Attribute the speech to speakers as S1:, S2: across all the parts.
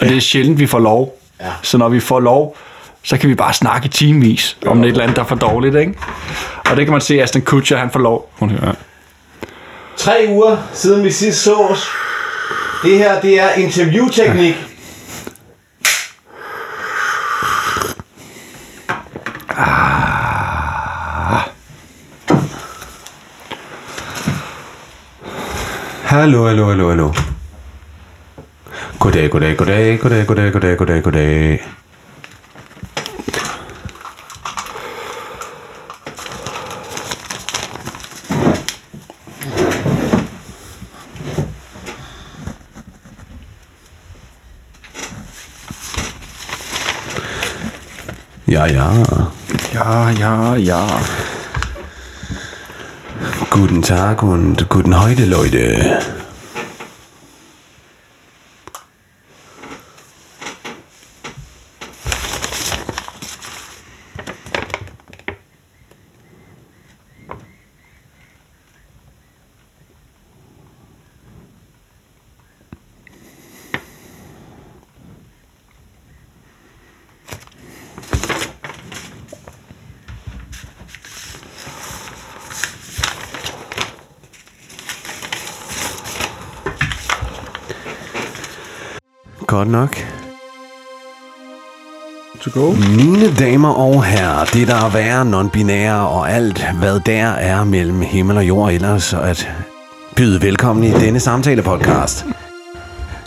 S1: og det er sjældent, vi får lov. Ja. Så når vi får lov, så kan vi bare snakke timevis om et eller andet, der er for dårligt, ikke? Og det kan man se, Aston Kutcher, han får lov. Hun hører.
S2: Tre uger siden vi sidst så os. Det her, det er interviewteknik.
S3: Hallo, hallo, hallo, hallo. Goddag, goddag, goddag, goddag, goddag, goddag, goddag, goddag. Ja, ja.
S1: Ja, ja, ja.
S3: Guten Tag und guten heute, Leute. Godt nok.
S1: To go.
S3: Mine damer og herrer, det der er værre, non-binære og alt, hvad der er mellem himmel og jord ellers, og at byde velkommen i denne samtale-podcast.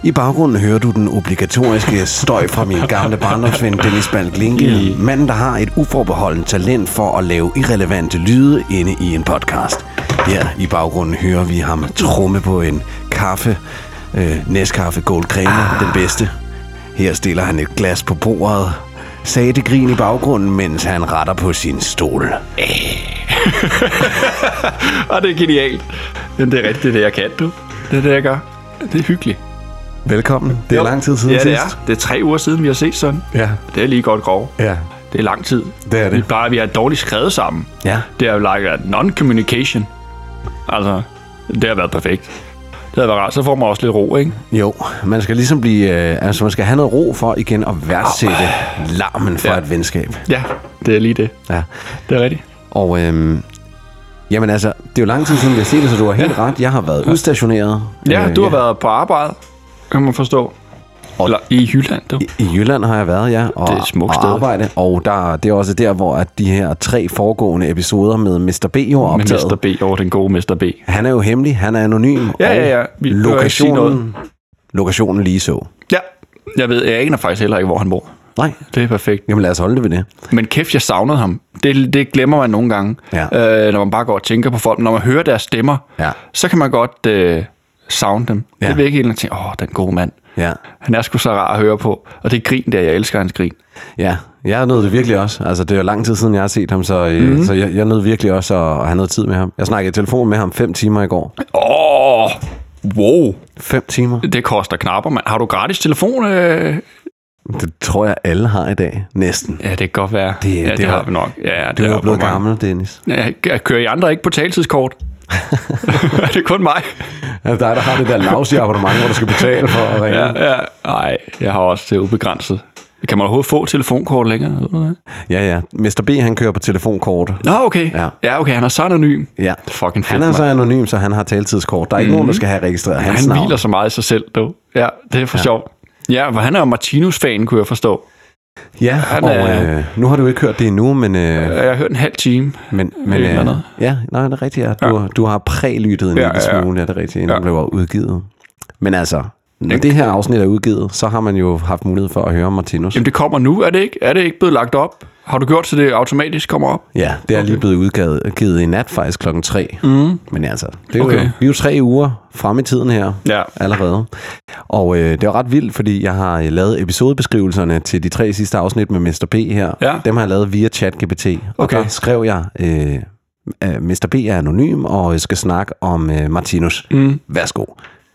S3: I baggrunden hører du den obligatoriske støj fra min gamle barndomsven Dennis Balk Linke, manden, der har et uforbeholden talent for at lave irrelevante lyde inde i en podcast. Her i baggrunden hører vi ham trumme på en kaffe, øh, næstkaffe Gold Crema, ah. den bedste. Her stiller han et glas på bordet, sagde det grin i baggrunden, mens han retter på sin stol.
S1: Og det er genialt. Men det er rigtigt, det er det, jeg kan, du. Det er det, jeg gør. Det er hyggeligt.
S3: Velkommen. Det er
S1: Jo.
S3: lang tid siden
S1: ja, det
S3: sidst.
S1: er. Det er tre uger siden, vi har set sådan.
S3: Ja,
S1: Det er lige godt grov.
S3: ja,
S1: Det er lang tid.
S3: det er
S1: Vi
S3: det.
S1: plejer, vi har dårligt skrevet sammen.
S3: Ja,
S1: Det har jo like non-communication. Altså, det har været perfekt. Det havde været rart. Så får man også lidt ro, ikke?
S3: jo. Man skal ligesom blive... Øh, altså, man skal have noget ro for igen at værdsætte larmen fra
S1: Ja.
S3: et venskab.
S1: Ja, det er lige det.
S3: Ja.
S1: Det er rigtigt.
S3: Og øhm, jamen altså, det er jo lang tid siden, vi har set det, så du har helt ret. Jeg har været udstationeret.
S1: Ja,
S3: Øh,
S1: du har været på arbejde, kan man forstå.
S3: Og-
S1: Eller i Jylland, du.
S3: I Jylland har jeg været, ja, og,
S1: Det er et smukt
S3: og
S1: sted.
S3: arbejde. Og der, det er også der, hvor at de her tre foregående episoder med Mr. B jo er
S1: Med
S3: optaget.
S1: Mester B over den gode Mester B.
S3: Han er jo hemmelig, han er anonym.
S1: Ja,
S3: og
S1: ja, ja. Vi behøver ikke sige
S3: lokationen, lokationen lige så.
S1: Ja, jeg ved, jeg aner faktisk heller ikke, hvor han bor.
S3: Nej,
S1: Det er perfekt.
S3: jamen lad os holde det ved det.
S1: Men kæft, jeg savnede ham. Det, det glemmer man nogle gange,
S3: Ja.
S1: øh, når man bare går og tænker på folk. Når man hører deres stemmer,
S3: Ja.
S1: så kan man godt øh, savne dem.
S3: Ja.
S1: Det vil ikke helt at tænke, åh, den gode mand.
S3: Ja,
S1: Han er sgu så rar at høre på. Og det grin der, jeg elsker hans grin.
S3: ja. jeg nød det virkelig også. Altså, det er jo lang tid siden, jeg har set ham, så, mm. så jeg, jeg nød virkelig også at, at have noget tid med ham. Jeg snakkede i telefon med ham fem timer i går.
S1: Åh, wow.
S3: Fem timer?
S1: Det koster knapper, mand. Har du gratis telefon? Øh?
S3: Det tror jeg, alle har i dag. Næsten.
S1: Ja, det kan godt være.
S3: Det-
S1: ja,
S3: det
S1: det, har
S3: var-
S1: vi nok. Ja,
S3: Du
S1: det
S3: er
S1: på
S3: blevet
S1: mange.
S3: gammel, Dennis.
S1: Ja, kører I andre ikke på taltidskort? er det kun mig?
S3: Ja, der er der har det der lavsige abonnement, hvor du skal betale for at ringe. Ja,
S1: Ja, ja. Nej, jeg har også det ubegrænset. Kan man overhovedet få telefonkort længere? Ved du det?
S3: ja. ja. Mr. B, han kører på telefonkort.
S1: Nå, okay.
S3: Ja.
S1: Ja, ja okay, han er så anonym.
S3: Ja.
S1: Det er fucking fedt,
S3: Han er så anonym, så han har taltidskort. Der er ikke mm. nogen, der skal have registreret hans
S1: han
S3: navn.
S1: hviler så meget i sig selv, dog. Ja, det er for ja. sjovt. Ja, for han er jo Martinus-fan, kunne jeg forstå.
S3: Ja,
S1: Han
S3: og
S1: er-
S3: øh, nu har du ikke hørt det endnu, men... Øh,
S1: Jeg har hørt en halv time.
S3: men, men
S1: et eller
S3: øh,
S1: andet.
S3: ja, nej, det er rigtigt. Ja. Du, du har prælyttet en
S1: Ja,
S3: lille
S1: ja, ja.
S3: smule, ja, det er rigtigt, inden ja.
S1: Ja.
S3: den blev udgivet. Men altså, når det her afsnit er udgivet, så har man jo haft mulighed for at høre Martinus.
S1: Jamen, det kommer nu, er det ikke? Er det ikke blevet lagt op? Har du gjort, så det automatisk kommer op?
S3: Ja, det er okay. lige blevet udgivet givet i nat faktisk klokken 3. Mm. Men altså, det er okay. jo,
S1: Okay.
S3: vi er jo tre uger frem i tiden her
S1: Ja.
S3: allerede. Og øh, det er jo ret vildt, fordi jeg har øh, lavet episodebeskrivelserne til de tre sidste afsnit med Mr. B her.
S1: Ja.
S3: Dem har jeg lavet via ChatGPT. Og
S1: Okay.
S3: der skrev jeg, øh, øh, Mr. B er anonym og skal snakke om øh, Martinus. Mm. Værsgo.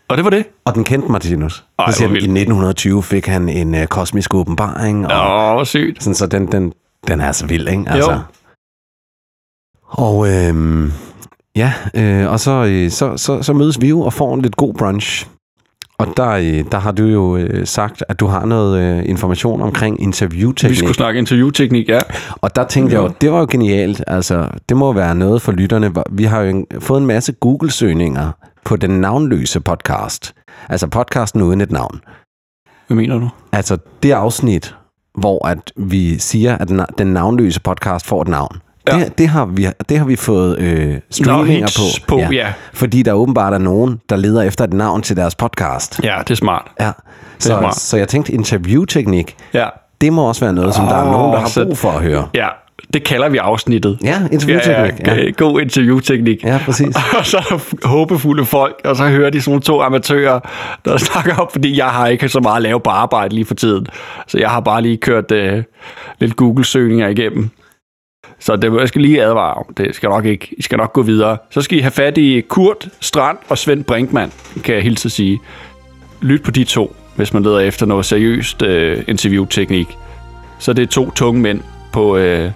S1: Og det var det.
S3: Og den kendte Martinus.
S1: Ej,
S3: Så siger
S1: hvor
S3: den, I
S1: vildt.
S3: 1920 fik han en øh, kosmisk åbenbaring. Og,
S1: Åh, hvor sygt.
S3: sådan, så den, den, den er så vild, ikke? Altså. Og øhm, ja, øh, og så, øh, så, så, så mødes vi jo og får en lidt god brunch. Og der, øh, der har du jo øh, sagt, at du har noget øh, information omkring
S1: Vi
S3: interviewteknik.
S1: skulle snakke interviewteknik, ja.
S3: Og der tænkte jeg jo, det var jo genialt. Altså, det må være noget for lytterne. Vi har jo en, fået en masse Google-søgninger på den navnløse podcast. Altså podcasten uden et navn.
S1: Hvad mener du?
S3: Altså det afsnit, hvor at vi siger, at na- den navnløse podcast får et navn. Ja. Det, det, har vi, det har vi fået øh, streaminger
S1: hits
S3: på.
S1: på, ja.
S3: Fordi der åbenbart er nogen, der leder efter et navn til deres podcast.
S1: Ja, det er smart.
S3: Ja. Så,
S1: smart.
S3: så jeg tænkte, interviewteknik,
S1: Ja,
S3: det må også være noget, som der er
S1: Åh,
S3: nogen, der har
S1: så-
S3: brug for at høre.
S1: ja. det kalder vi afsnittet.
S3: Ja, interviewteknik.
S1: Ja, ja, ja. God interviewteknik.
S3: Ja, præcis.
S1: Og så er der håbefulde folk, og så hører de sådan nogle to amatører, der snakker op, fordi jeg har ikke så meget at lave på arbejde lige for tiden. Så jeg har bare lige kørt øh, lidt Google-søgninger igennem. Så det, jeg skal lige advare om, det skal nok ikke. I skal nok gå videre. Så skal I have fat i Kurt Strand og Svend Brinkmann, kan jeg hilse at sige. Lyt på de to, hvis man leder efter noget seriøst øh, interviewteknik. Så det er to tunge mænd på øh,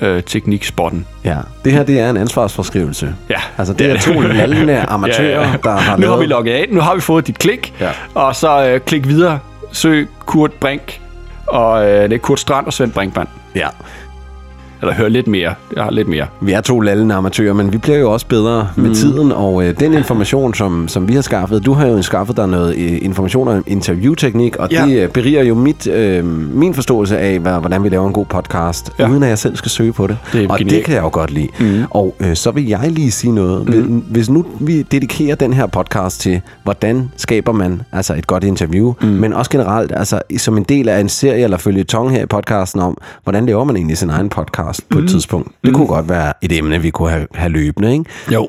S1: interviewteknikspotten.
S3: Ja, det her det er en ansvarsforskrivelse.
S1: Ja,
S3: altså det, det er, to lallende amatører, ja, ja. der har
S1: Nu har vi
S3: lavet-
S1: logget af, nu har vi fået dit klik,
S3: Ja.
S1: og så øh, klik videre, søg Kurt Brink, og øh, det er Kurt Strand og Svend Brinkmann.
S3: Ja,
S1: Eller hør lidt mere, jeg har lidt mere.
S3: vi er to lallende amatører, men vi bliver jo også bedre mm. med tiden, og øh, den information, som, som vi har skaffet, du har jo skaffet dig noget øh, information om interviewteknik, og
S1: Ja.
S3: ja. det øh, beriger jo mit, øh, min forståelse af, hvad, hvordan vi laver en god podcast,
S1: Ja.
S3: ja. uden at jeg selv skal søge på det.
S1: Det er
S3: og
S1: genialt.
S3: det kan jeg jo godt lide. Mm. Og øh, så vil jeg lige sige noget. Mm. Hvis nu vi dedikerer den her podcast til, hvordan skaber man altså et godt interview, mm. men også generelt altså som en del af en serie eller følge tong her i podcasten om, hvordan laver man egentlig sin egen podcast på mm. et tidspunkt. Det kunne godt være et emne, vi kunne have, have løbende, ikke?
S1: Jo.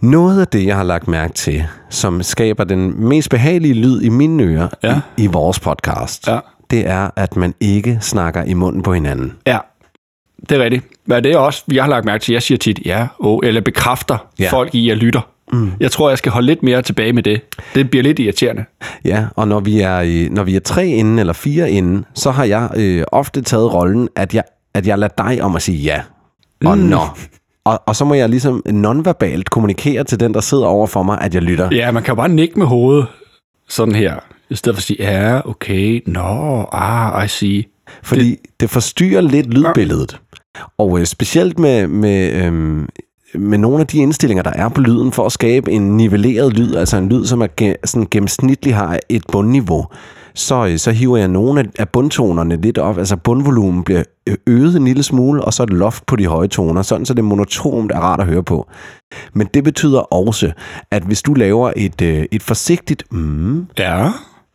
S3: Noget af det, jeg har lagt mærke til, som skaber den mest behagelige lyd i mine ører
S1: Ja.
S3: i, i vores podcast,
S1: Ja.
S3: det er, at man ikke snakker i munden på hinanden.
S1: Ja, det er rigtigt. Men det er også, jeg har lagt mærke til, jeg siger tit ja, oh, eller bekræfter ja.
S3: Ja.
S1: folk i, at jeg lytter. Mm. Jeg tror, jeg skal holde lidt mere tilbage med det. Det bliver lidt irriterende.
S3: Ja, og når vi er, i- når vi er tre inden eller fire inden, så har jeg øh, ofte taget rollen, at jeg, at jeg lader dig om at sige ja og mm. nå. Og, og så må jeg ligesom nonverbalt kommunikere til den, der sidder over for mig, at jeg lytter.
S1: Ja, man kan jo bare nikke med hovedet. Sådan her. I stedet for at sige, ja, okay, nå, ah, I see.
S3: Fordi det, det forstyrrer lidt lydbilledet. Og øh, specielt med, med, øhm, med nogle af de indstillinger, der er på lyden, for at skabe en nivelleret lyd, altså en lyd, som er ge, sådan gennemsnitlig har et bundniveau, så, øh, så hiver jeg nogle af- af bundtonerne lidt op. Altså bundvolumen bliver ø- øget en lille smule, og så er det loft på de høje toner, sådan så det monotont er rart at høre på. Men det betyder også, at hvis du laver et, øh, et forsigtigt mm,
S1: Ja.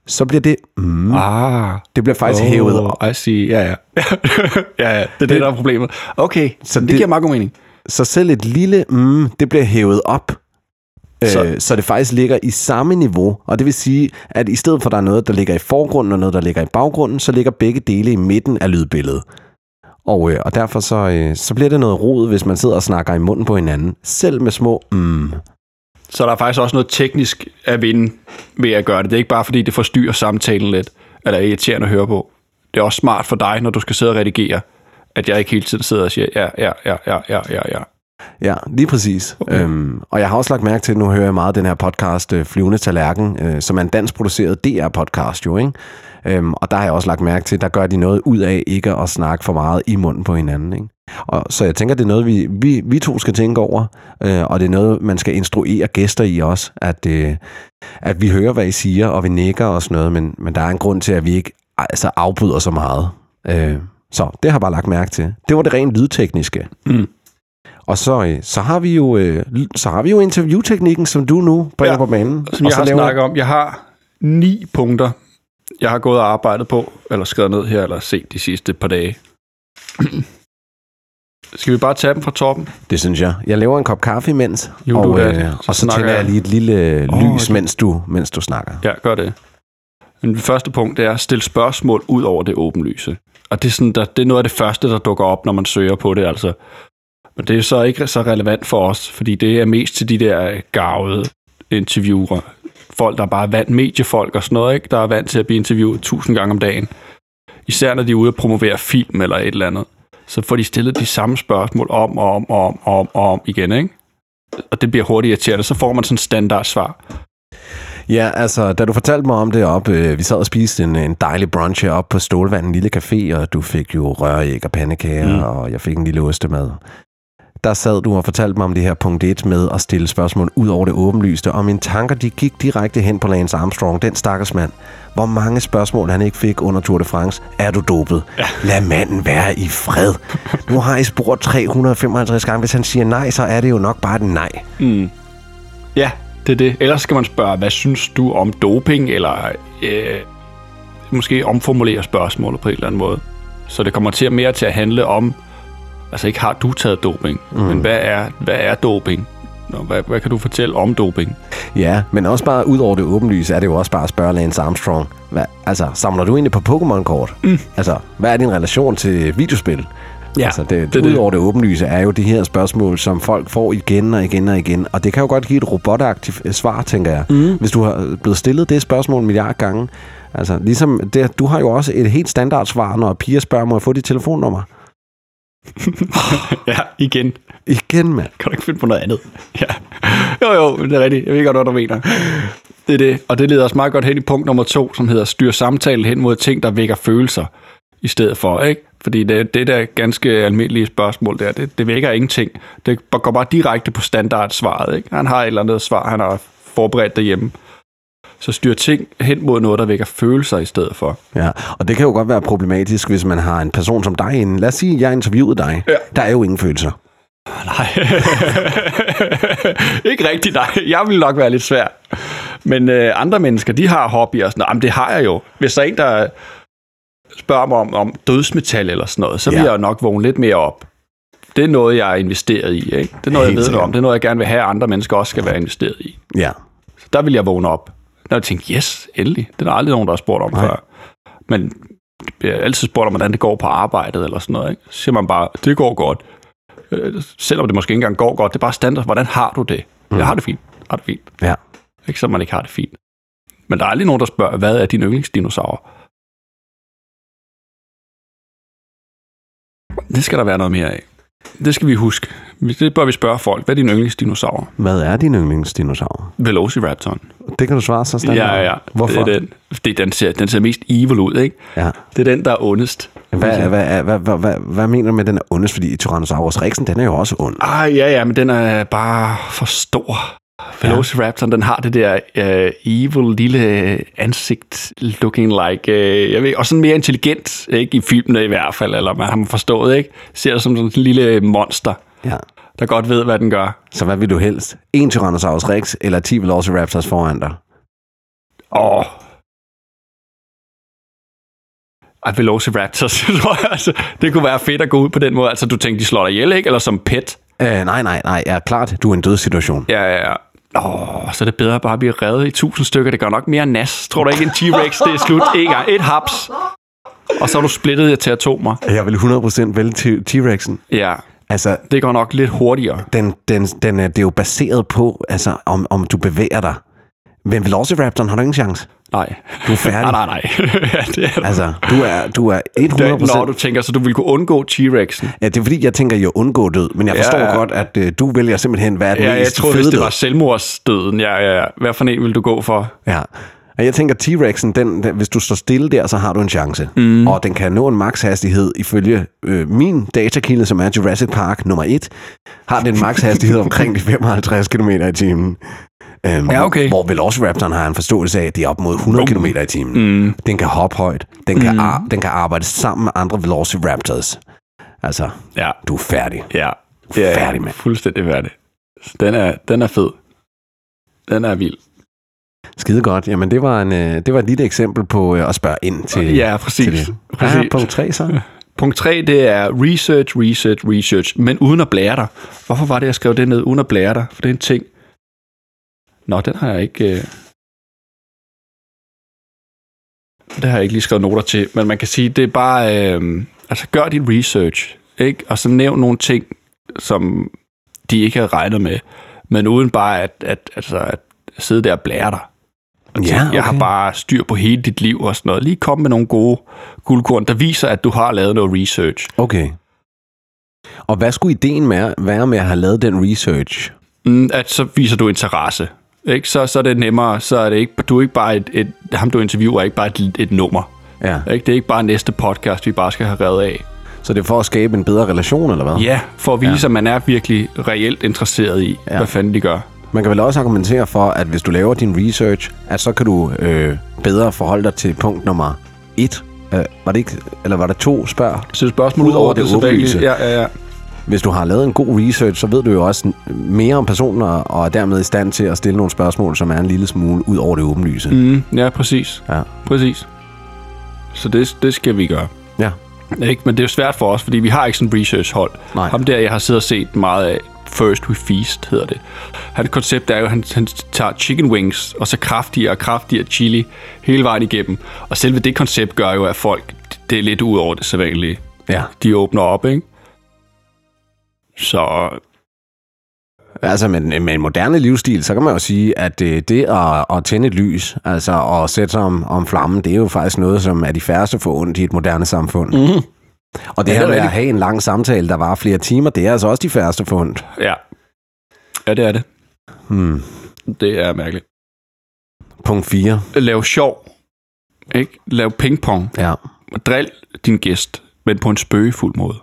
S3: så bliver det mm,
S1: Ah.
S3: det bliver faktisk oh. hævet op.
S1: I see. Ja, ja. ja, ja. Det er det, der er problemet. Okay, så det, det
S3: det-
S1: giver meget god mening.
S3: Så selv et lille mm, det bliver hævet op.
S1: Så-
S3: Så. Øh, så det faktisk ligger i samme niveau. Og det vil sige, at i stedet for at der er noget, der ligger i forgrunden og noget, der ligger i baggrunden, så ligger begge dele i midten af lydbilledet. Og, øh, og derfor så, øh, så bliver det noget rod, hvis man sidder og snakker i munden på hinanden. Selv med små mm.
S1: Så der er faktisk også noget teknisk at vinde ved at gøre det. Det er ikke bare, fordi det forstyrrer samtalen lidt, eller er irriterende at høre på. Det er også smart for dig, når du skal sidde og redigere, at jeg ikke hele tiden sidder og siger, ja, ja, ja, ja, ja, ja, ja.
S3: Ja, lige præcis. Okay. Øhm, og jeg har også lagt mærke til, at nu hører jeg meget den her podcast, øh, Flyvende Tallerken, øh, som er en danskproduceret DR-podcast jo, ikke? Øhm, og der har jeg også lagt mærke til, at der gør de noget ud af ikke at snakke for meget i munden på hinanden, ikke? Og, så jeg tænker, det er noget, vi, vi, vi to skal tænke over, øh, og det er noget, man skal instruere gæster i også, at, øh, at vi hører, hvad I siger, og vi nikker og sådan noget, men, men der er en grund til, at vi ikke altså, afbryder så meget. Øh, så det har jeg bare lagt mærke til. Det var det rent lydtekniske.
S1: Mm.
S3: Og så, øh, så har vi jo øh, l- så har vi jo interviewteknikken, som du nu bringer
S1: Ja,
S3: ja, på banen.
S1: Som
S3: og
S1: jeg
S3: så
S1: har snakket om, jeg har ni punkter, jeg har gået og arbejdet på, eller skrevet ned her, eller set de sidste par dage. Skal vi bare tage dem fra toppen?
S3: Det synes jeg. Jeg laver en kop kaffe imens,
S1: Jo, du
S3: og, øh,
S1: er det. Så
S3: og så
S1: snakker
S3: tænder jeg
S1: jeg.
S3: lige et lille
S1: Åh,
S3: oh, lys,
S1: okay.
S3: mens du, mens du snakker.
S1: Ja, gør det. Men det første punkt det er, stil spørgsmål ud over det åbenlyse. Og det er, sådan, der, det er noget af det første, der dukker op, når man søger på det, altså. Men det er så ikke så relevant for os, fordi det er mest til de der øh, garvede interviewer. Folk, der bare er vant mediefolk og sådan noget, ikke? der er vant til at blive interviewet tusind gange om dagen. Især når de er ude og promovere film eller et eller andet. Så får de stillet de samme spørgsmål om og om og om og om, og om igen, ikke? Og det bliver hurtigt irriterende. Så får man sådan standard svar.
S3: Ja, altså, da du fortalte mig om det op, øh, vi sad og spiste en, en dejlig brunch heroppe på Stålvand, en lille café, og du fik jo røræg og pandekager, mm. og jeg fik en lille ostemad. Der sad du og fortalte mig om det her punkt 1 med at stille spørgsmål ud over det åbenlyste, og mine tanker de gik direkte hen på Lance Armstrong, den stakkels mand. Hvor mange spørgsmål han ikke fik under Tour de France. Er du dopet? Ja. Lad manden være i fred. Nu har I spurgt 355 gange. Hvis han siger nej, så er det jo nok bare et nej.
S1: Ja, det er det. Ellers skal man spørge, hvad synes du om doping, eller øh, måske omformulere spørgsmålet på en eller anden måde. Så det kommer til mere til at handle om, altså ikke har du taget doping, mm. men hvad er, hvad er doping? Nå, hvad, hvad kan du fortælle om doping?
S3: Ja, men også bare ud over det åbenlyse, er det jo også bare at spørge Lance Armstrong. Hvad, altså, samler du egentlig på Pokémon-kort? Mm. Altså, hvad er din relation til videospil?
S1: Ja,
S3: altså, det,
S1: det er
S3: det,
S1: det.
S3: ud over det åbenlyse er jo de her spørgsmål, som folk får igen og igen og igen. Og det kan jo godt give et robotagtigt øh, svar, tænker jeg. Mm. Hvis du har blevet stillet det spørgsmål en milliard gange. Altså, ligesom det, du har jo også et helt standard svar, når piger spørger, må jeg få dit telefonnummer?
S1: ja, igen.
S3: Igen, mand.
S1: Kan du ikke finde på noget andet? Ja. Jo, jo, det er rigtigt. Jeg ved godt, hvad du mener. Det er det. Og det leder os meget godt hen i punkt nummer to, som hedder styr samtalen hen mod ting, der vækker følelser i stedet for, ikke? Fordi det, det der ganske almindelige spørgsmål der, det, det vækker ingenting. Det går bare direkte på standardsvaret, ikke? Han har et eller andet svar, han har forberedt derhjemme. Så styr ting hen mod noget, der vækker følelser i stedet for.
S3: Ja, og det kan jo godt være problematisk, hvis man har en person som dig inden. Lad os sige, at jeg interviewede dig.
S1: Ja.
S3: Der er jo ingen følelser.
S1: Nej. ikke rigtigt, nej. Jeg ville nok være lidt svær. Men øh, andre mennesker, de har hobbyer og sådan noget. Jamen, det har jeg jo. Hvis der er en, der spørger mig om, om dødsmetal eller sådan noget, så vil
S3: Ja.
S1: ja. jeg jo nok vågne lidt mere op. Det er noget, jeg er investeret i. Ikke? Det er noget, jeg
S3: Helt
S1: ved noget
S3: sikkert.
S1: om. Det er noget, jeg gerne vil have, at andre mennesker også skal være investeret i.
S3: Ja.
S1: Så der vil jeg vågne op. Der vil jeg tænke, yes, endelig. Det er der aldrig nogen, der har spurgt om
S3: Nej.
S1: Nej. før. Men jeg har altid spurgt om, hvordan det går på arbejdet eller sådan noget. Ikke? Så siger man bare, det går godt. Øh, selvom det måske ikke engang går godt, det er bare standard. Hvordan har du det? Mm. Jeg har det fint. Jeg har det fint.
S3: Ja.
S1: Ikke så man ikke har det fint. Men der er aldrig nogen, der spørger, hvad er din yndlingsdinosaur? Det skal der være noget mere af. Det skal vi huske. Det bør vi spørge folk. Hvad er din yndlingsdinosaur?
S3: Hvad er din yndlingsdinosaur?
S1: Velociraptoren.
S3: Det kan du svare så standard.
S1: Ja, ja.
S3: Hvorfor?
S1: Det er den. Fordi den ser, den ser mest evil ud, ikke?
S3: Ja.
S1: Det er den, der er ondest. Ligesom-
S3: Hvad, hvad, hvad, hvad, hvad, hvad mener du med, at den er ondest? Fordi Tyrannosaurus Rexen, den er jo også ond.
S1: Ah, ja, ja, men den er bare for stor. Velociraptoren, den har det der uh, evil lille ansigt looking like, uh, jeg ved, ikke, og sådan mere intelligent, ikke i filmene i hvert fald, eller man har man forstået, ikke? Ser det som sådan en lille monster,
S3: Ja.
S1: der godt ved, hvad den gør.
S3: Så hvad vil du helst? En Tyrannosaurus Rex eller 10 Velociraptors foran dig?
S1: Åh. Ej, Velociraptors, tror jeg, altså, det kunne være fedt at gå ud på den måde. Altså, du tænkte, de slår dig ihjel, ikke? Eller som pet.
S3: Øh, nej, nej, nej. Ja, klart, du er i en dødssituation.
S1: Ja, ja, ja. Åh, så er det bedre bare at blive revet i tusind stykker. Det gør nok mere nas. Tror du ikke, en T-Rex, det er slut en gang. Et haps. Og så er du splittet til atomer.
S3: Jeg vil 100% vælge T- T-Rexen.
S1: Ja,
S3: Altså,
S1: det går nok lidt hurtigere.
S3: den, den, den er, det er jo baseret på, altså, om, om du bevæger dig. Men Velociraptoren har du ingen chance.
S1: Nej.
S3: Du er færdig.
S1: Nej, nej, nej. ja, det er altså,
S3: Altså, du er, du er 100%...
S1: når du tænker, så du ville kunne undgå T-Rexen.
S3: Ja, det er fordi, jeg tænker, jeg undgår død, men jeg
S1: Ja,
S3: forstår ja,
S1: ja.
S3: godt, at øh, du vælger simpelthen, hvad er den
S1: Ja, jeg
S3: mest
S1: tror,
S3: fede
S1: hvis det
S3: død.
S1: var selvmordsdøden, ja, ja, ja. Hvad for en ville du gå for?
S3: Ja. Og jeg tænker, T-Rexen, den, den, hvis du står stille der, så har du en chance. Mm. Og den kan nå en makshastighed ifølge øh, min datakilde, som er Jurassic Park nummer 1, har den en makshastighed omkring de 55 km i timen. Øhm,
S1: Ja, okay.
S3: Hvor Velociraptoren har en forståelse af, at det er op mod 100 km i timen. Mm. Den kan hoppe højt. Den kan, mm. ar- den kan arbejde sammen med andre Velociraptors. Altså,
S1: Ja,
S3: du er færdig.
S1: ja.
S3: Færdig, mand.
S1: Fuldstændig færdig. Så Den er, den er fed. Den er vild.
S3: Skide godt. Jamen, det var, en, øh, det var et lille eksempel på øh, at spørge ind til,
S1: Ja,
S3: til
S1: præcis.
S3: det.
S1: præcis.
S3: Ah, punkt 3 så.
S1: Punkt 3, det er research, research, research, men uden at blære dig. Hvorfor var det, jeg skrev det ned uden at blære dig? For det er en ting. Nå, den har jeg ikke... Øh... Det har jeg ikke lige skrevet noter til, men man kan sige, det er bare... Øh... Altså, gør din research, ikke? Og så nævn nogle ting, som de ikke havde regnet med, men uden bare at, at, altså, at sidde der og blære dig. Og
S3: Ja,
S1: tænke, Jeg har
S3: okay.
S1: bare styr på hele dit liv og sådan noget. Lige kom med nogle gode guldkorn, der viser, at du har lavet noget research.
S3: Okay. Og hvad skulle ideen med, være med at have lavet den research?
S1: Mm, at så viser du interesse. ikke? Så, så er det nemmere. Så er det ikke, du er ikke bare et, et, ham, du interviewer, er ikke bare et, et nummer.
S3: Ja.
S1: Ikke? Det er ikke bare næste podcast, vi bare skal have reddet af.
S3: Så det er for at skabe en bedre relation, eller hvad?
S1: Ja, for at vise, ja. at man er virkelig reelt interesseret i, ja. hvad fanden de gør.
S3: Man kan vel også argumentere for, at hvis du laver din research, at så kan du øh, bedre forholde dig til punkt nummer et. Øh, var det ikke, eller var der to spørg?
S1: Så spørgsmålet ud
S3: Udover
S1: over
S3: det
S1: det, sædvanlige-
S3: åbenlyse.
S1: Ja, ja, ja.
S3: Hvis du har lavet en god research, så ved du jo også n- mere om personen, og og er dermed i stand til at stille nogle spørgsmål, som er en lille smule ud over det åbenlyse. Mm.
S1: Mm, ja, præcis.
S3: Ja.
S1: Præcis. Så det, det skal vi gøre.
S3: ja.
S1: Øh, Ikke? Men det er jo svært for os, fordi vi har ikke sådan en research-hold.
S3: Nej.
S1: Ham der, jeg har siddet og set meget af, First We Feast hedder det. Hans koncept er jo, at han, han tager chicken wings, og så kraftigere og kraftigere chili hele vejen igennem. Og selve det koncept gør jo, at folk, det er lidt ud over det sædvanlige.
S3: Ja.
S1: De åbner op, ikke? Så
S3: Altså med, en- med en moderne livsstil, så kan man jo sige, at øh, det, det at, at tænde et lys, altså at sætte sig om, om flammen, det er jo faktisk noget, som er de færreste får ondt i et moderne samfund. Mm. Og det
S1: Mhm. Ja, det
S3: her
S1: er
S3: med at
S1: rigtigt.
S3: have en lang samtale, der var flere timer, det er altså også de færreste for ondt.
S1: ja. Ja, det er det.
S3: Hmm.
S1: Det er mærkeligt.
S3: Punkt 4.
S1: Lav sjov. Ikke? Lav pingpong.
S3: Ja.
S1: Dril din gæst, men på en spøgefuld måde.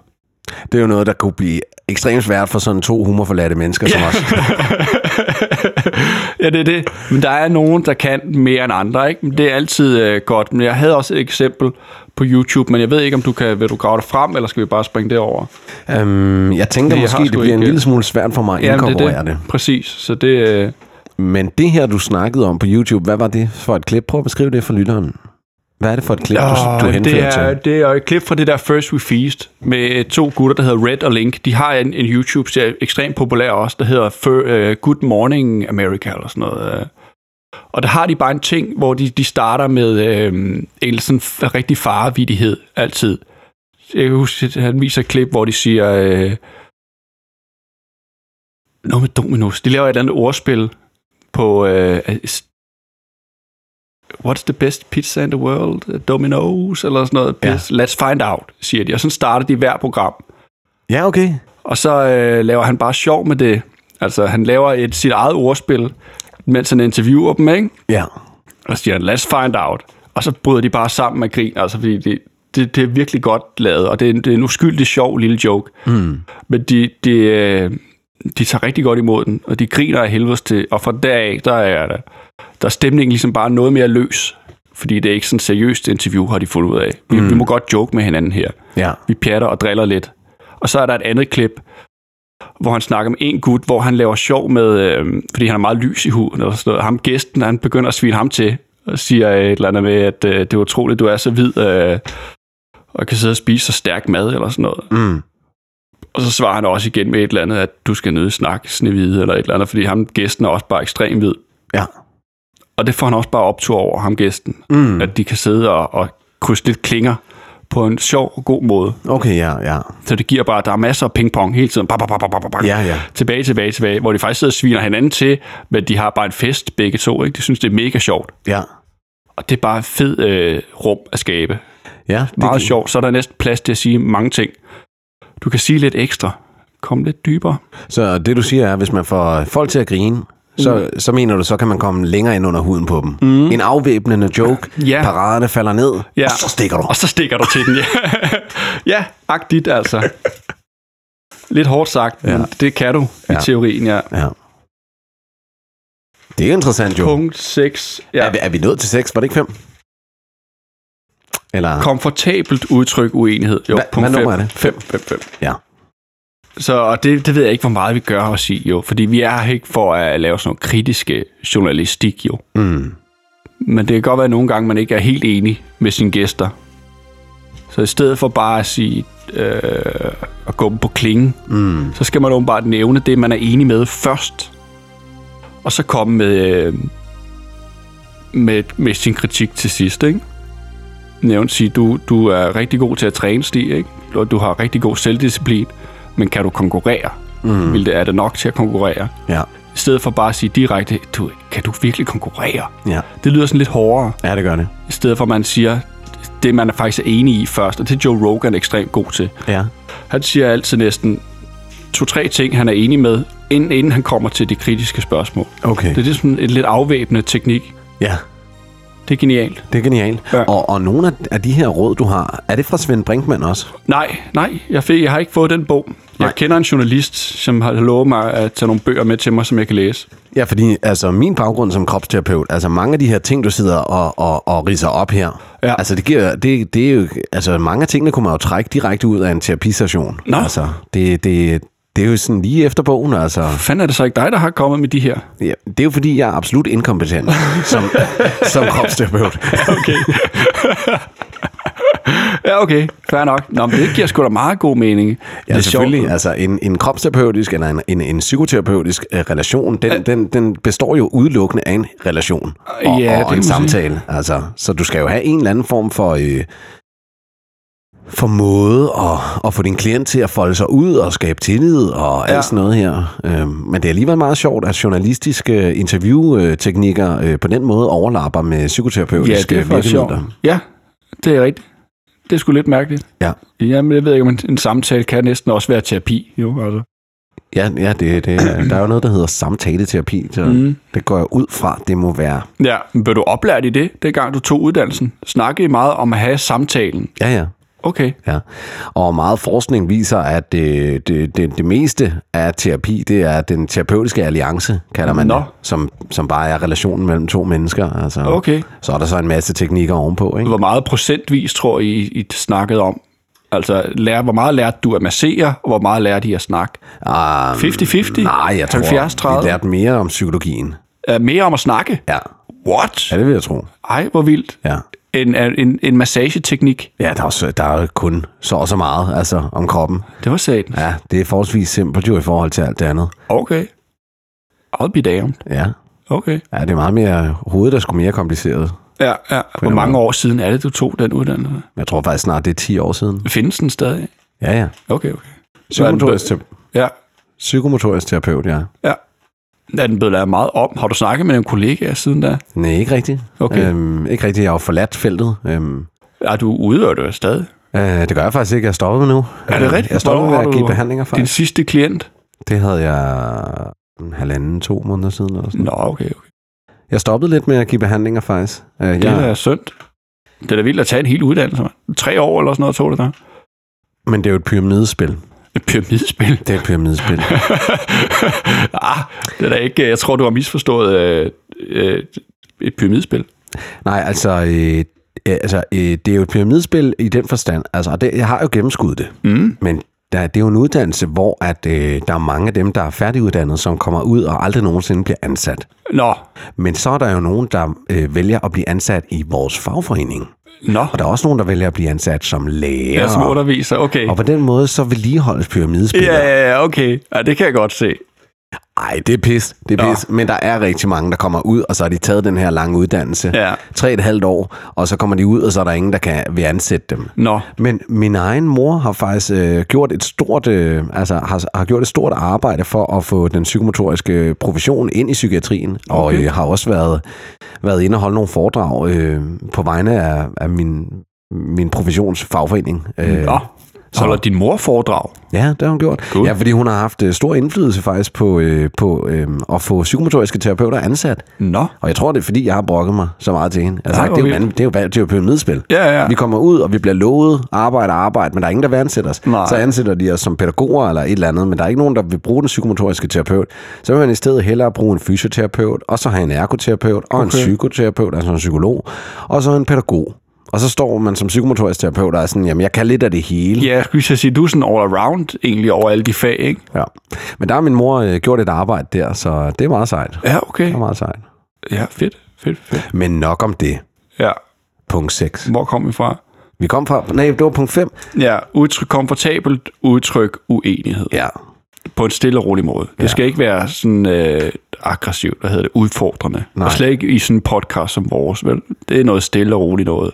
S3: Det er jo noget, der kunne blive ekstremt svært for sådan to humorforladte mennesker som os.
S1: ja, det er det. Men der er nogen, der kan mere end andre, ikke? Men det er altid øh, godt. Men jeg havde også et eksempel på YouTube, men jeg ved ikke, om du kan, vil du grave det frem, eller skal vi bare springe det over?
S3: Øhm, jeg tænker
S1: Det har
S3: måske, det
S1: sgu
S3: bliver en
S1: ikke-
S3: lille smule svært for mig at inkorporere det,
S1: Præcis. Så det, øh,
S3: det. Men det her, du snakkede om på YouTube, hvad var det for et klip? Prøv at beskrive det for lytteren. Hvad er det for et klip, du, du
S1: Åh,
S3: henfører
S1: det er,
S3: til?
S1: det er jo et klip fra det der First We Feast med to gutter, der hedder Red og Link. De har en, en YouTube-serie, ekstremt populær også, der hedder Fir, uh, Good Morning America eller sådan noget. øh. Og der har de bare en ting, hvor de, de starter med øh, en sådan f- rigtig farevidighed altid. Jeg kan huske, at han viser et klip, hvor de siger... Øh, noget med Dominos. De laver et eller andet ordspil på... Øh, What's the best pizza in the world? Domino's eller sådan noget.
S3: Ja.
S1: Ja. Let's find out, siger de. Og sådan starter de hver program.
S3: Ja, okay.
S1: Og så øh, laver han bare sjov med det. Altså, han laver et, sit eget ordspil, mens han interviewer dem, ikke?
S3: Ja.
S1: Og så siger han, let's find out. Og så bryder de bare sammen af grin, altså, fordi det, det, det er virkelig godt lavet, og det er en, det er en uskyldig, sjov lille joke. Mm. Men de, de, øh, de tager rigtig godt imod den, og de griner af helvedes til, og fra deraf, der er, der, der er stemningen ligesom bare noget mere løs, fordi det er ikke sådan et seriøst interview, har de fundet ud af. Vi, mm. vi må godt joke med hinanden her.
S3: Ja.
S1: Vi pjatter og driller lidt. Og så er der et andet klip, hvor han snakker om en gut, hvor han laver sjov med, øh, fordi han har meget lys i huden, eller sådan noget. Ham gæsten, han begynder at svine ham til, og siger øh, et eller andet med, at øh, det er utroligt, du er så hvid, øh, og kan sidde og spise så stærk mad, eller sådan noget.
S3: Mm.
S1: Og så svarer han også igen med et eller andet, at du skal nødt snakke snevide, eller et eller andet, fordi ham gæsten er også bare ekstremt hvid.
S3: Ja.
S1: Og det får han også bare optur over, ham gæsten.
S3: Mm.
S1: At de kan sidde og, og krydse lidt klinger på en sjov og god måde.
S3: Okay, ja, ja.
S1: Så det giver bare, der er masser af pingpong hele tiden. Bang, bang, bang, bang, bang, bang.
S3: Ja, ja.
S1: Tilbage, tilbage, tilbage. Hvor de faktisk sidder og sviner hinanden til, men de har bare en fest begge to. Ikke? De synes, det er mega sjovt.
S3: Ja.
S1: Og det er bare et fed øh, rum at skabe.
S3: Ja, det,
S1: Meget sjovt. Så er der næsten plads til at sige mange ting. Du kan sige lidt ekstra. Kom lidt dybere.
S3: så det du siger er, hvis man får folk til at grine, så,
S1: Mm.
S3: så mener du, så kan man komme længere ind under huden på dem. Mm. En afvæbnende joke,
S1: Ja.
S3: paraderne falder ned,
S1: Ja.
S3: og så stikker du.
S1: Og så stikker du til den. Ja, ja agtigt altså. Lidt hårdt sagt, ja.
S3: Ja.
S1: men det kan du ja.
S3: Ja.
S1: i teorien, ja.
S3: Ja. Det er interessant jo.
S1: Punkt 6.
S3: Ja.
S1: Ja.
S3: Er, vi, er vi nået til 6? Var det ikke 5? Eller?
S1: Komfortabelt udtryk uenighed. Jo,
S3: Hva-
S1: punkt
S3: hvad nummer
S1: fem.
S3: er det?
S1: 5, 5, 5.
S3: Ja.
S1: Så og det, det ved jeg ikke, hvor meget vi gør og sige jo, fordi vi er her ikke for at lave sådan noget kritiske journalistik jo.
S3: Mm.
S1: Men det kan godt være, at nogle gange man ikke er helt enig med sine gæster. Så i stedet for bare at sige, øh, at gå dem på klingen, mm. så skal man åbenbart nævne det, man er enig med først. Og så komme med, øh, med, med sin kritik til sidst, ikke? Nævn, sige, du, du er rigtig god til at træne, Stig, ikke? Og du har rigtig god selvdisciplin, men kan du konkurrere? Mm. Vil det, er det nok til at konkurrere?
S3: Ja.
S1: I stedet for bare at sige direkte, du, kan du virkelig konkurrere?
S3: ja.
S1: Det lyder sådan lidt hårdere,
S3: Ja, det gør det.
S1: i stedet for at man siger det, man er faktisk er enig i først, og det er Joe Rogan ekstremt god til.
S3: Ja.
S1: Han siger altid næsten to-tre ting, han er enig med, inden, inden han kommer til det kritiske spørgsmål.
S3: Okay.
S1: Det er det sådan en lidt afvæbnende teknik.
S3: Ja,
S1: Det er genialt.
S3: det er genialt.
S1: Ja.
S3: Og, og nogle af- af de her råd, du har, er det fra Svend Brinkmann også?
S1: Nej, nej, jeg, fik, jeg har ikke fået den bog. Jeg
S3: Nej.
S1: kender en journalist, som har lovet mig at tage nogle bøger med til mig, som jeg kan læse.
S3: Ja, fordi altså, min baggrund som kropsterapeut, altså mange af de her ting, du sidder og, og, og riser op her,
S1: Ja.
S3: altså, det giver, det, det er jo, altså mange af tingene kunne man jo trække direkte ud af en terapistation.
S1: Nå.
S3: Altså, det, det, det er jo sådan lige efter bogen, altså.
S1: Hvad fanden er det så ikke dig, der har kommet med de her?
S3: Ja, det er jo fordi, jeg er absolut inkompetent som, som kropsterapeut.
S1: Okay. ja, okay. Fair nok. Nå, men det giver sgu da meget god mening.
S3: Ja,
S1: sjovt.
S3: selvfølgelig. Altså, en, en kropsterapeutisk eller en, en, en psykoterapeutisk øh, relation, den, den, den består jo udelukkende af en relation og,
S1: Ja, det
S3: og
S1: kan
S3: en
S1: man sige.
S3: samtale. Altså, så du skal jo have en eller anden form for, øh, for måde at, at få din klient til at folde sig ud og skabe tillid og ja.
S1: Ja.
S3: alt sådan noget her. Øh, men det er alligevel meget sjovt, at journalistiske interviewteknikker øh, på den måde overlapper med
S1: Ja,
S3: psykoterapeutiske
S1: det er faktisk sjovt. Ja, det er rigtigt. Det er sgu lidt mærkeligt.
S3: Ja.
S1: Jamen, jeg ved ikke, om en, en samtale kan næsten også være terapi, jo, altså.
S3: Ja, ja det, det, der er jo noget, der hedder samtaleterapi. Så mm. Det går jeg ud fra, det må være.
S1: Ja, men blev du oplært i det, dengang du tog uddannelsen? Snakkede I meget om at have samtalen?
S3: Ja, ja.
S1: Okay.
S3: Ja. Og meget forskning viser, at det, det, det, det meste af terapi, det er den terapeutiske alliance, kalder man
S1: Nå.
S3: det, som, som bare er relationen mellem to mennesker. Altså,
S1: Okay.
S3: Så er der så en masse teknikker ovenpå, ikke?
S1: Hvor meget procentvis, tror I, I snakkede om? Altså, lærer, hvor meget lærte du at massere, og hvor meget lærte I at snakke?
S3: Um,
S1: 50-50?
S3: Nej, jeg tror,
S1: 70-30?
S3: vi lærte mere om psykologien.
S1: Uh, mere om at snakke?
S3: Ja.
S1: What?
S3: ja, det vil jeg tro.
S1: Ej, hvor vildt.
S3: Ja.
S1: En, øh, en, en massageteknik.
S3: Ja, der er, også, der er jo kun så og så meget altså, om kroppen.
S1: Det var satan.
S3: Ja, det er forholdsvis simpelt jo i forhold til alt det andet.
S1: Okay. I'll be damned.
S3: Ja,
S1: Okay.
S3: ja det er meget mere hovedet, der skulle mere kompliceret.
S1: Ja, ja. Hvor
S3: eller
S1: mange år siden er det, du tog den uddannelse?
S3: Jeg tror faktisk snart, det er 10 år siden.
S1: Findes den stadig?
S3: Ja, ja.
S1: Okay, okay.
S3: Psykomotorisk, te-
S1: Ja,
S3: psykomotorisk terapeut, ja.
S1: ja. Er den blevet lavet meget om? Har du snakket med en kollega siden da?
S3: Nej, ikke rigtigt.
S1: Okay.
S3: Øhm, ikke rigtigt, jeg har jo forladt feltet. Øhm,
S1: Er du udøver det stadig?
S3: øh, det gør jeg faktisk ikke, jeg er stoppet med nu. Øhm,
S1: Er det rigtigt?
S3: Jeg stopper med
S1: Hvornår har
S3: at give
S1: du
S3: behandlinger
S1: Din
S3: faktisk.
S1: sidste klient?
S3: Det havde jeg en halvanden, to måneder siden. Eller sådan.
S1: Nå, okay, okay.
S3: Jeg stoppede lidt med at give behandlinger faktisk. Øh,
S1: Det er
S3: jeg,
S1: da syndt. Det er da vildt at tage en hel uddannelse, man. Tre år eller sådan noget tog det der.
S3: men det er jo et pyramidespil.
S1: Et pyramidespil.
S3: Det er et pyramidespil.
S1: ah, det er da ikke... Jeg tror, du har misforstået øh, øh, et pyramidespil.
S3: Nej, altså, øh, øh, altså øh, det er jo et pyramidespil i den forstand. Altså, og det, jeg har jo gennemskuddet det.
S1: Mm.
S3: Men der, det er jo en uddannelse, hvor at, øh, der er mange af dem, der er færdiguddannede, som kommer ud og aldrig nogensinde bliver ansat.
S1: Nå,
S3: Men så er der jo nogen, der øh, vælger at blive ansat i vores fagforening.
S1: nå.
S3: Og der er også nogen, der vælger at blive ansat som lærer.
S1: Jeg er som underviser, okay.
S3: og på den måde, så vedligeholdes pyramidespillet.
S1: Ja, ja, ja, okay. Ja, det kan jeg godt se.
S3: Ej, det er pis. Det er
S1: Nå.
S3: pis. Men der er rigtig mange, der kommer ud, og så har de taget den her lange uddannelse.
S1: Ja.
S3: Tre et halvt år, og så kommer de ud, og så er der ingen, der kan, vil ansætte dem.
S1: Nå,
S3: Men min egen mor har faktisk øh, gjort et stort, øh, altså har, har gjort et stort arbejde for at få den psykomotoriske profession ind i psykiatrien, okay. og
S1: Okay.
S3: øh, har også været været inde og holde nogle foredrag øh, på vegne af, af min min professionsfagforening. Øh,
S1: Mm, nå. Så holder din mor foredrag.
S3: Ja, det har hun gjort.
S1: Cool.
S3: Ja, fordi hun har haft øh, stor indflydelse faktisk på, øh, på øh, at få psykomotoriske terapeuter ansat.
S1: Nå.
S3: Og jeg tror, det er fordi, jeg har brokket mig så meget til hende. Jeg har
S1: Nej,
S3: sagt,
S1: hvor
S3: det er jo,
S1: vildt.
S3: mand- det er jo, det er jo pyramidespil.
S1: Ja, ja.
S3: Vi kommer ud, og vi bliver lovet arbejde og arbejde, men der er ingen, der vil ansætte os.
S1: Nej.
S3: Så ansætter de os som pædagoger eller et eller andet, men der er ikke nogen, der vil bruge den psykomotoriske terapeut. Så vil man i stedet hellere bruge en fysioterapeut, og så have en ergoterapeut, og okay. en psykoterapeut, altså en psykolog, og så en pædagog. Og så står man som psykomotorisk terapeut og er sådan, jamen jeg kan lidt af det hele.
S1: Ja, jeg skulle lige så sige, du er sådan all around egentlig over alle de fag, ikke?
S3: Ja. Men der har min mor øh, gjort et arbejde der, så det er meget sejt. Det
S1: Ja, okay.
S3: er meget sejt.
S1: Ja, fedt, fedt, fedt.
S3: Men nok om det.
S1: Ja,
S3: Punkt 6.
S1: hvor kom vi fra?
S3: Vi kom fra... Nej, det var punkt 5.
S1: Ja, udtryk komfortabelt, udtryk uenighed.
S3: Ja.
S1: På en stille og rolig måde. Det
S3: Ja.
S1: ja. skal ikke være sådan øh, aggressivt, hvad hedder det, udfordrende.
S3: Nej.
S1: Og slet ikke i sådan en podcast som vores, vel? Det er noget stille og roligt noget.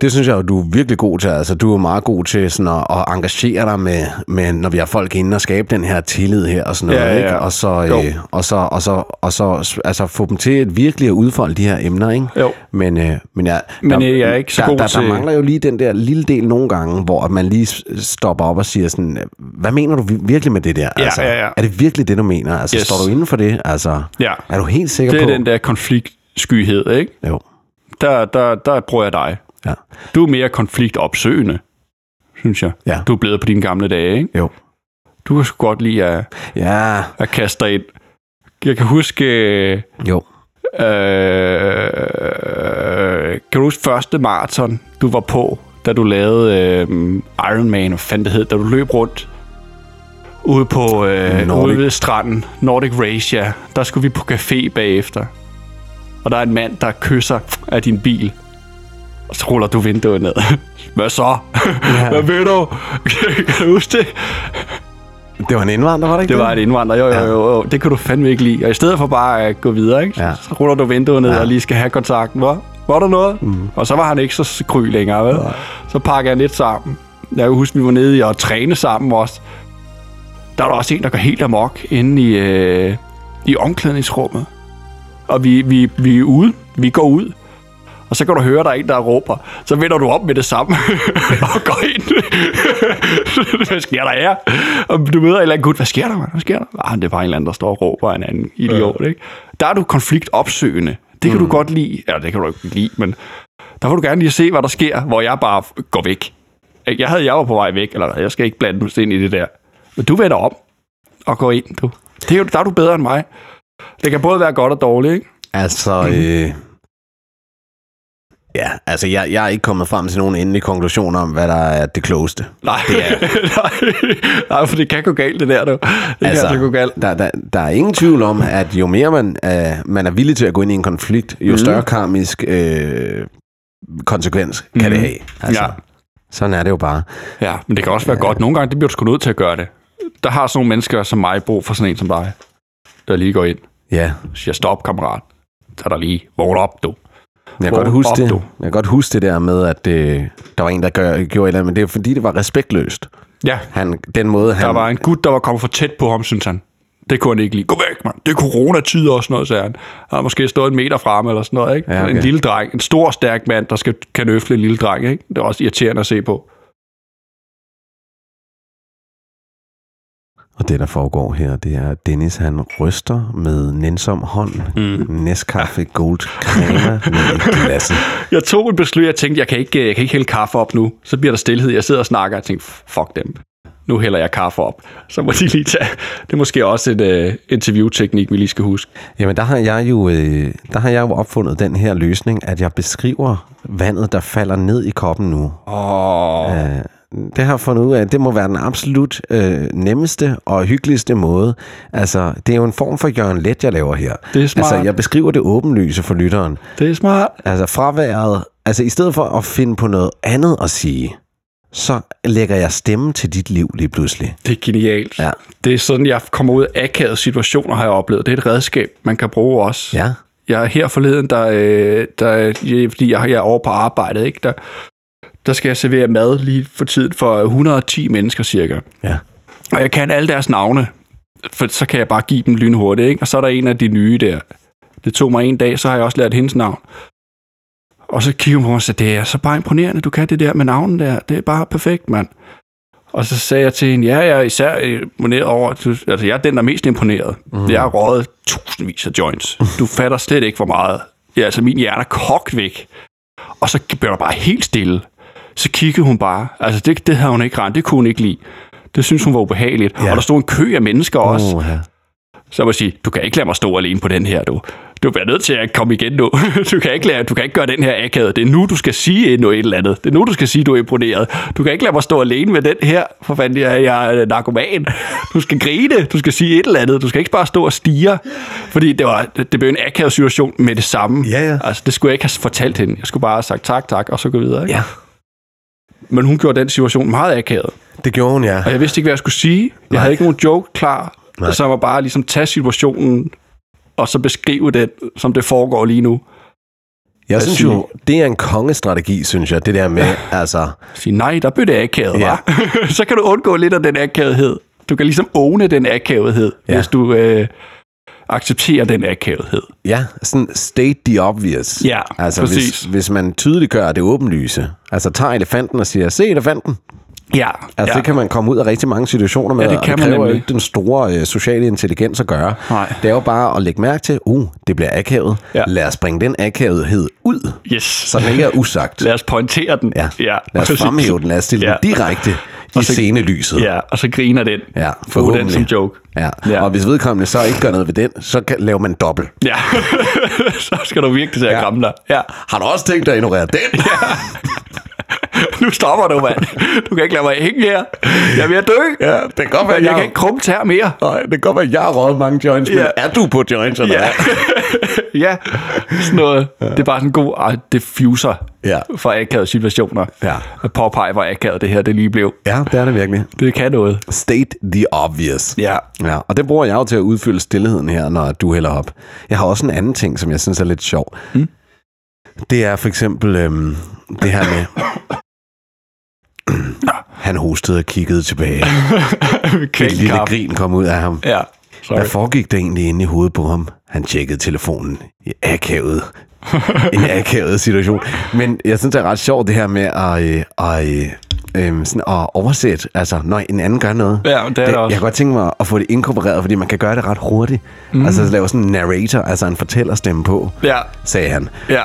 S3: Det synes jeg jo, du er virkelig god til. Altså, du er jo meget god til sådan at, at engagere dig med, med, når vi har folk inde og skabe den her tillid her og sådan noget.
S1: Ja, ja, ja.
S3: Ikke? Og, så,
S1: Jo.
S3: øh, og, så, og, så, og så altså, få dem til at virkelig at udfolde de her emner. Ikke?
S1: Jo.
S3: Men, øh, men, jeg,
S1: Men, øh, jeg er ikke så
S3: der,
S1: god
S3: der,
S1: til-
S3: Der mangler jo lige den der lille del nogle gange, hvor at man lige s- stopper op og siger sådan, "Øh, hvad mener du vi- virkelig med det der?
S1: Ja,
S3: altså,
S1: ja, ja.
S3: Er det virkelig det, du mener? Altså,
S1: Yes.
S3: Står du inden for det? Altså,
S1: Ja.
S3: Er du helt sikker
S1: Det
S3: på?
S1: er den der konfliktskyhed, ikke?
S3: Jo.
S1: Der, der, der bruger jeg dig.
S3: Ja.
S1: Du er mere konfliktopsøgende, synes jeg.
S3: Ja.
S1: Du er blevet på dine gamle dage, ikke?
S3: Jo.
S1: Du kan sgu godt lide at,
S3: Ja,
S1: at kaste dig ind. Jeg kan huske... øh,
S3: jo.
S1: Øh, kan du huske første maraton, du var på, da du lavede øh, Iron Man, hvad fanden det hed, da du løb rundt ude på øh,
S3: Nordic.
S1: ude ved stranden, Nordic Race, ja. Der skulle vi på café bagefter. Og der er en mand, der kysser af din bil. Og så ruller du vinduet ned. Hvad så? Ja. Hvad ved du? kan du huske det?
S3: Det var en indvandrer, var det ikke
S1: Det var en indvandrer, jo, jo, jo, jo. Det kunne du fandme ikke lide. Og i stedet for bare at gå videre, ikke?
S3: Ja.
S1: Ja. så ruller du vinduet ned ja. og lige skal have kontakten. Hvor? Var der noget? Mm. Og så var han ikke så kry længere, vel? Så pakker jeg lidt sammen. Jeg kan huske, vi var nede i at træne sammen også. Der var der også en, der går helt amok inde i, øh, i omklædningsrummet. Og vi, vi, vi er ude. Vi går ud. Og så kan du høre, der er en, der råber. Så vender du op med det samme og går ind. hvad sker der her? Og du møder en eller anden gut. Hvad sker der, mand? Hvad sker der? Ah, det er bare en eller anden, der står og råber af en anden idiot, ikke? Der er du konfliktopsøgende. Det kan mm. du godt lide. Eller det kan du ikke lide, men der vil du gerne lige se, hvad der sker, hvor jeg bare f- går væk. Ikke? Jeg havde, jeg var på vej væk, eller jeg skal ikke blande mig ind i det der. Men du vender om og går ind, du. Det er jo, der er du bedre end mig. Det kan både være godt og dårligt, ikke? Mhm.
S3: Altså, øh, ja, altså jeg, jeg er ikke kommet frem til nogen endelige konklusioner om, hvad der er det klogeste.
S1: Nej, nej, nej, for det kan gå galt, det der, du. Det altså,
S3: Altså,
S1: kan det gå galt.
S3: Der, der, der er ingen tvivl om, at jo mere man, øh, man er villig til at gå ind i en konflikt,
S1: Mhm.
S3: jo mm. større karmisk øh, konsekvens kan mm. det have. Altså,
S1: Mhm. Ja.
S3: Sådan er det jo bare.
S1: Ja, men det kan også være godt. Nogle gange, det bliver du sgu nødt til at gøre det. Der har sådan nogle mennesker som mig brug for sådan en som dig, der lige går ind
S3: Ja,
S1: og siger, stop, kammerat. Så er der lige, vågn op, du.
S3: Jeg kan,
S1: Vågn
S3: godt huske
S1: op,
S3: det.
S1: du.
S3: jeg kan godt huske det der med, at øh, der var en, der gør, gjorde et eller andet, men det er jo fordi, det var respektløst.
S1: Ja,
S3: Han, den måde, han...
S1: der var en gut, der var kommet for tæt på ham, synes han. Det kunne han ikke lide. Gå væk, mand. Det er coronatid og sådan noget, sagde han. Han har måske stået en meter frem eller sådan noget, ikke?
S3: Ja,
S1: Ja,
S3: okay.
S1: okay. En lille dreng. En stor, stærk mand, der skal, kan øfle en lille dreng, ikke? Det er også irriterende at se på.
S3: Og det, der foregår her, det er, at Dennis han ryster med nænsom hånd. Mm. Nescafé Gold Crema ned i glasset.
S1: Jeg tog en beslutning, jeg tænkte, jeg kan, ikke, jeg kan ikke hælde kaffe op nu. Så bliver der stillhed. Jeg sidder og snakker, og jeg tænker, fuck dem. Nu hælder jeg kaffe op. Så må de lige tage... Det er måske også en uh, interviewteknik, vi lige skal huske.
S3: Jamen, der har, jeg jo, øh, der har jeg jo opfundet den her løsning, at jeg beskriver vandet, der falder ned i koppen nu.
S1: Åh, oh,
S3: Øh, det har jeg fundet ud af, at det må være den absolut øh, nemmeste og hyggeligste måde. Altså, det er jo en form for Jørgen Let, jeg laver her.
S1: Det er smart.
S3: Altså, jeg beskriver det åbenlyse for lytteren.
S1: det er smart.
S3: Altså, fraværet... Altså, i stedet for at finde på noget andet at sige, så lægger jeg stemme til dit liv lige pludselig.
S1: Det er genialt.
S3: Ja.
S1: Det er sådan, jeg kommer ud af akavede situationer, har jeg oplevet. Det er et redskab, man kan bruge også.
S3: Ja.
S1: Jeg er her forleden, der, øh, der, ja, fordi jeg, jeg er over på arbejdet, ikke? Der, der skal jeg servere mad lige for tiden for 110 mennesker cirka.
S3: Ja.
S1: Og jeg kan alle deres navne, for så kan jeg bare give dem lynhurtigt, ikke? Og så er der en af de nye der. Det tog mig en dag, så har jeg også lært hendes navn. Og så kigger hun på mig og sagde, det er så bare imponerende, du kan det der med navnen der. Det er bare perfekt, mand. Og så sagde jeg til hende, ja, jeg er især imponeret over, at du- altså jeg er den, der er mest imponeret. Mm. Jeg har røget tusindvis af joints. Du fatter slet ikke, hvor meget. Ja, altså min hjerne er kogt væk. Og så blev der bare helt stille. Så kiggede hun bare. Altså det, det havde hun ikke rent, det kunne hun ikke lide. Det synes hun var ubehageligt.
S3: Ja. Mhm.
S1: Ja. Og der stod en kø af mennesker også.
S3: Åh, ja.
S1: Så må jeg sige, du kan ikke lade mig stå alene på den her, du. Du bliver nødt til at komme igen nu. Du kan ikke, lade, du kan ikke gøre den her akavet. Det er nu, du skal sige endnu et eller andet. Det er nu, du skal sige, du er imponeret. Du kan ikke lade mig stå alene med den her. For fanden, jeg, jeg er narkoman. Du skal grine. Du skal sige et eller andet. Du skal ikke bare stå og stige. Fordi det, var, det blev en akavet situation med det samme.
S3: Ja, ja.
S1: Altså, det skulle jeg ikke have fortalt hende. Jeg skulle bare have sagt tak, tak, og så gå videre. Ikke?
S3: ja.
S1: Men hun gjorde den situation meget akavet.
S3: Det gjorde hun, ja.
S1: Og jeg vidste ikke, hvad jeg skulle sige. Jeg
S3: Nej.
S1: havde ikke nogen joke klar.
S3: Nej.
S1: Nej. Så jeg var bare ligesom tage situationen, og så beskrive den, som det foregår lige nu.
S3: Jeg synes jo, det er en kongestrategi, synes jeg. Det der med, altså...
S1: Sige, nej, der blev det akavet,
S3: Ja.
S1: ja. Så kan du undgå lidt af den akavethed. Du kan ligesom åne den akavethed,
S3: Ja.
S1: ja. hvis du øh, accepterer den akavethed.
S3: Ja, sådan state the obvious.
S1: Ja,
S3: altså, Hvis,
S1: præcis.
S3: hvis man tydeliggør det åbenlyse. Altså tager elefanten og siger, se elefanten.
S1: Ja,
S3: Altså
S1: ja.
S3: det kan man komme ud af rigtig mange situationer med,
S1: Ja, det
S3: og
S1: kan
S3: det
S1: man
S3: kræver jo
S1: nemlig.
S3: ikke den store øh, sociale intelligens at gøre.
S1: Nej.
S3: Det er jo bare at lægge mærke til, uh, det bliver akavet. Ja.
S1: Ja.
S3: Lad os bringe den akavethed ud,
S1: yes.
S3: så den ikke er usagt.
S1: Lad os pointere den.
S3: Ja.
S1: ja
S3: Lad os
S1: præcis.
S3: fremhæve den, lad os stille ja. den
S1: Ja.
S3: direkte i
S1: Og så-
S3: scenelyset.
S1: Ja, og så griner den.
S3: Ja,
S1: Få den
S3: forhåbentlig.
S1: som joke.
S3: Ja. ja,
S1: Ja.
S3: og hvis vedkommende så ikke gør noget ved den, så kan, laver man dobbelt.
S1: Ja, så skal du virkelig til at
S3: Ja.
S1: ja. kramme dig. Ja.
S3: Har du også tænkt dig at ignorere den?
S1: Nu stopper du, mand. Du kan ikke lade mig hænge her. Jeg er ved at dø.
S3: Ja, det kan godt
S1: Men
S3: være,
S1: jeg
S3: jeg-
S1: kan ikke krumme tær mere.
S3: Nej, det kan godt være, at jeg har røget mange joints, men
S1: Ja.
S3: er du på joints eller
S1: Ja.
S3: hvad?
S1: ja, sådan noget. Det er bare sådan en god ah, diffuser
S3: Ja.
S1: for akavede situationer.
S3: Ja.
S1: At påpege, hvor akavet det her det lige blev.
S3: Ja, det er det virkelig.
S1: Det kan noget.
S3: State the obvious.
S1: Ja.
S3: Ja, og det bruger jeg jo til at udfylde stillheden her, når du hælder op. Jeg har også en anden ting, som jeg synes er lidt sjov. Mm. Det er for eksempel øhm, det her med... Han hostede og kiggede tilbage.
S1: okay,
S3: Et lille grin kom ud af ham.
S1: Ja,
S3: Hvad
S1: sorry.
S3: foregik der egentlig inde i hovedet på ham? Han tjekkede telefonen i akavet. en akavet situation. Men jeg synes, det er ret sjovt, det her med at, øh, at, øh, øhm, sådan at oversætte, altså når en anden gør noget.
S1: Ja, det er det også.
S3: Jeg kan godt tænke mig at få det inkorporeret, fordi man kan gøre det ret hurtigt. Mm. Altså lave sådan en narrator, altså en fortællerstemme på,
S1: Ja,
S3: sagde han.
S1: ja.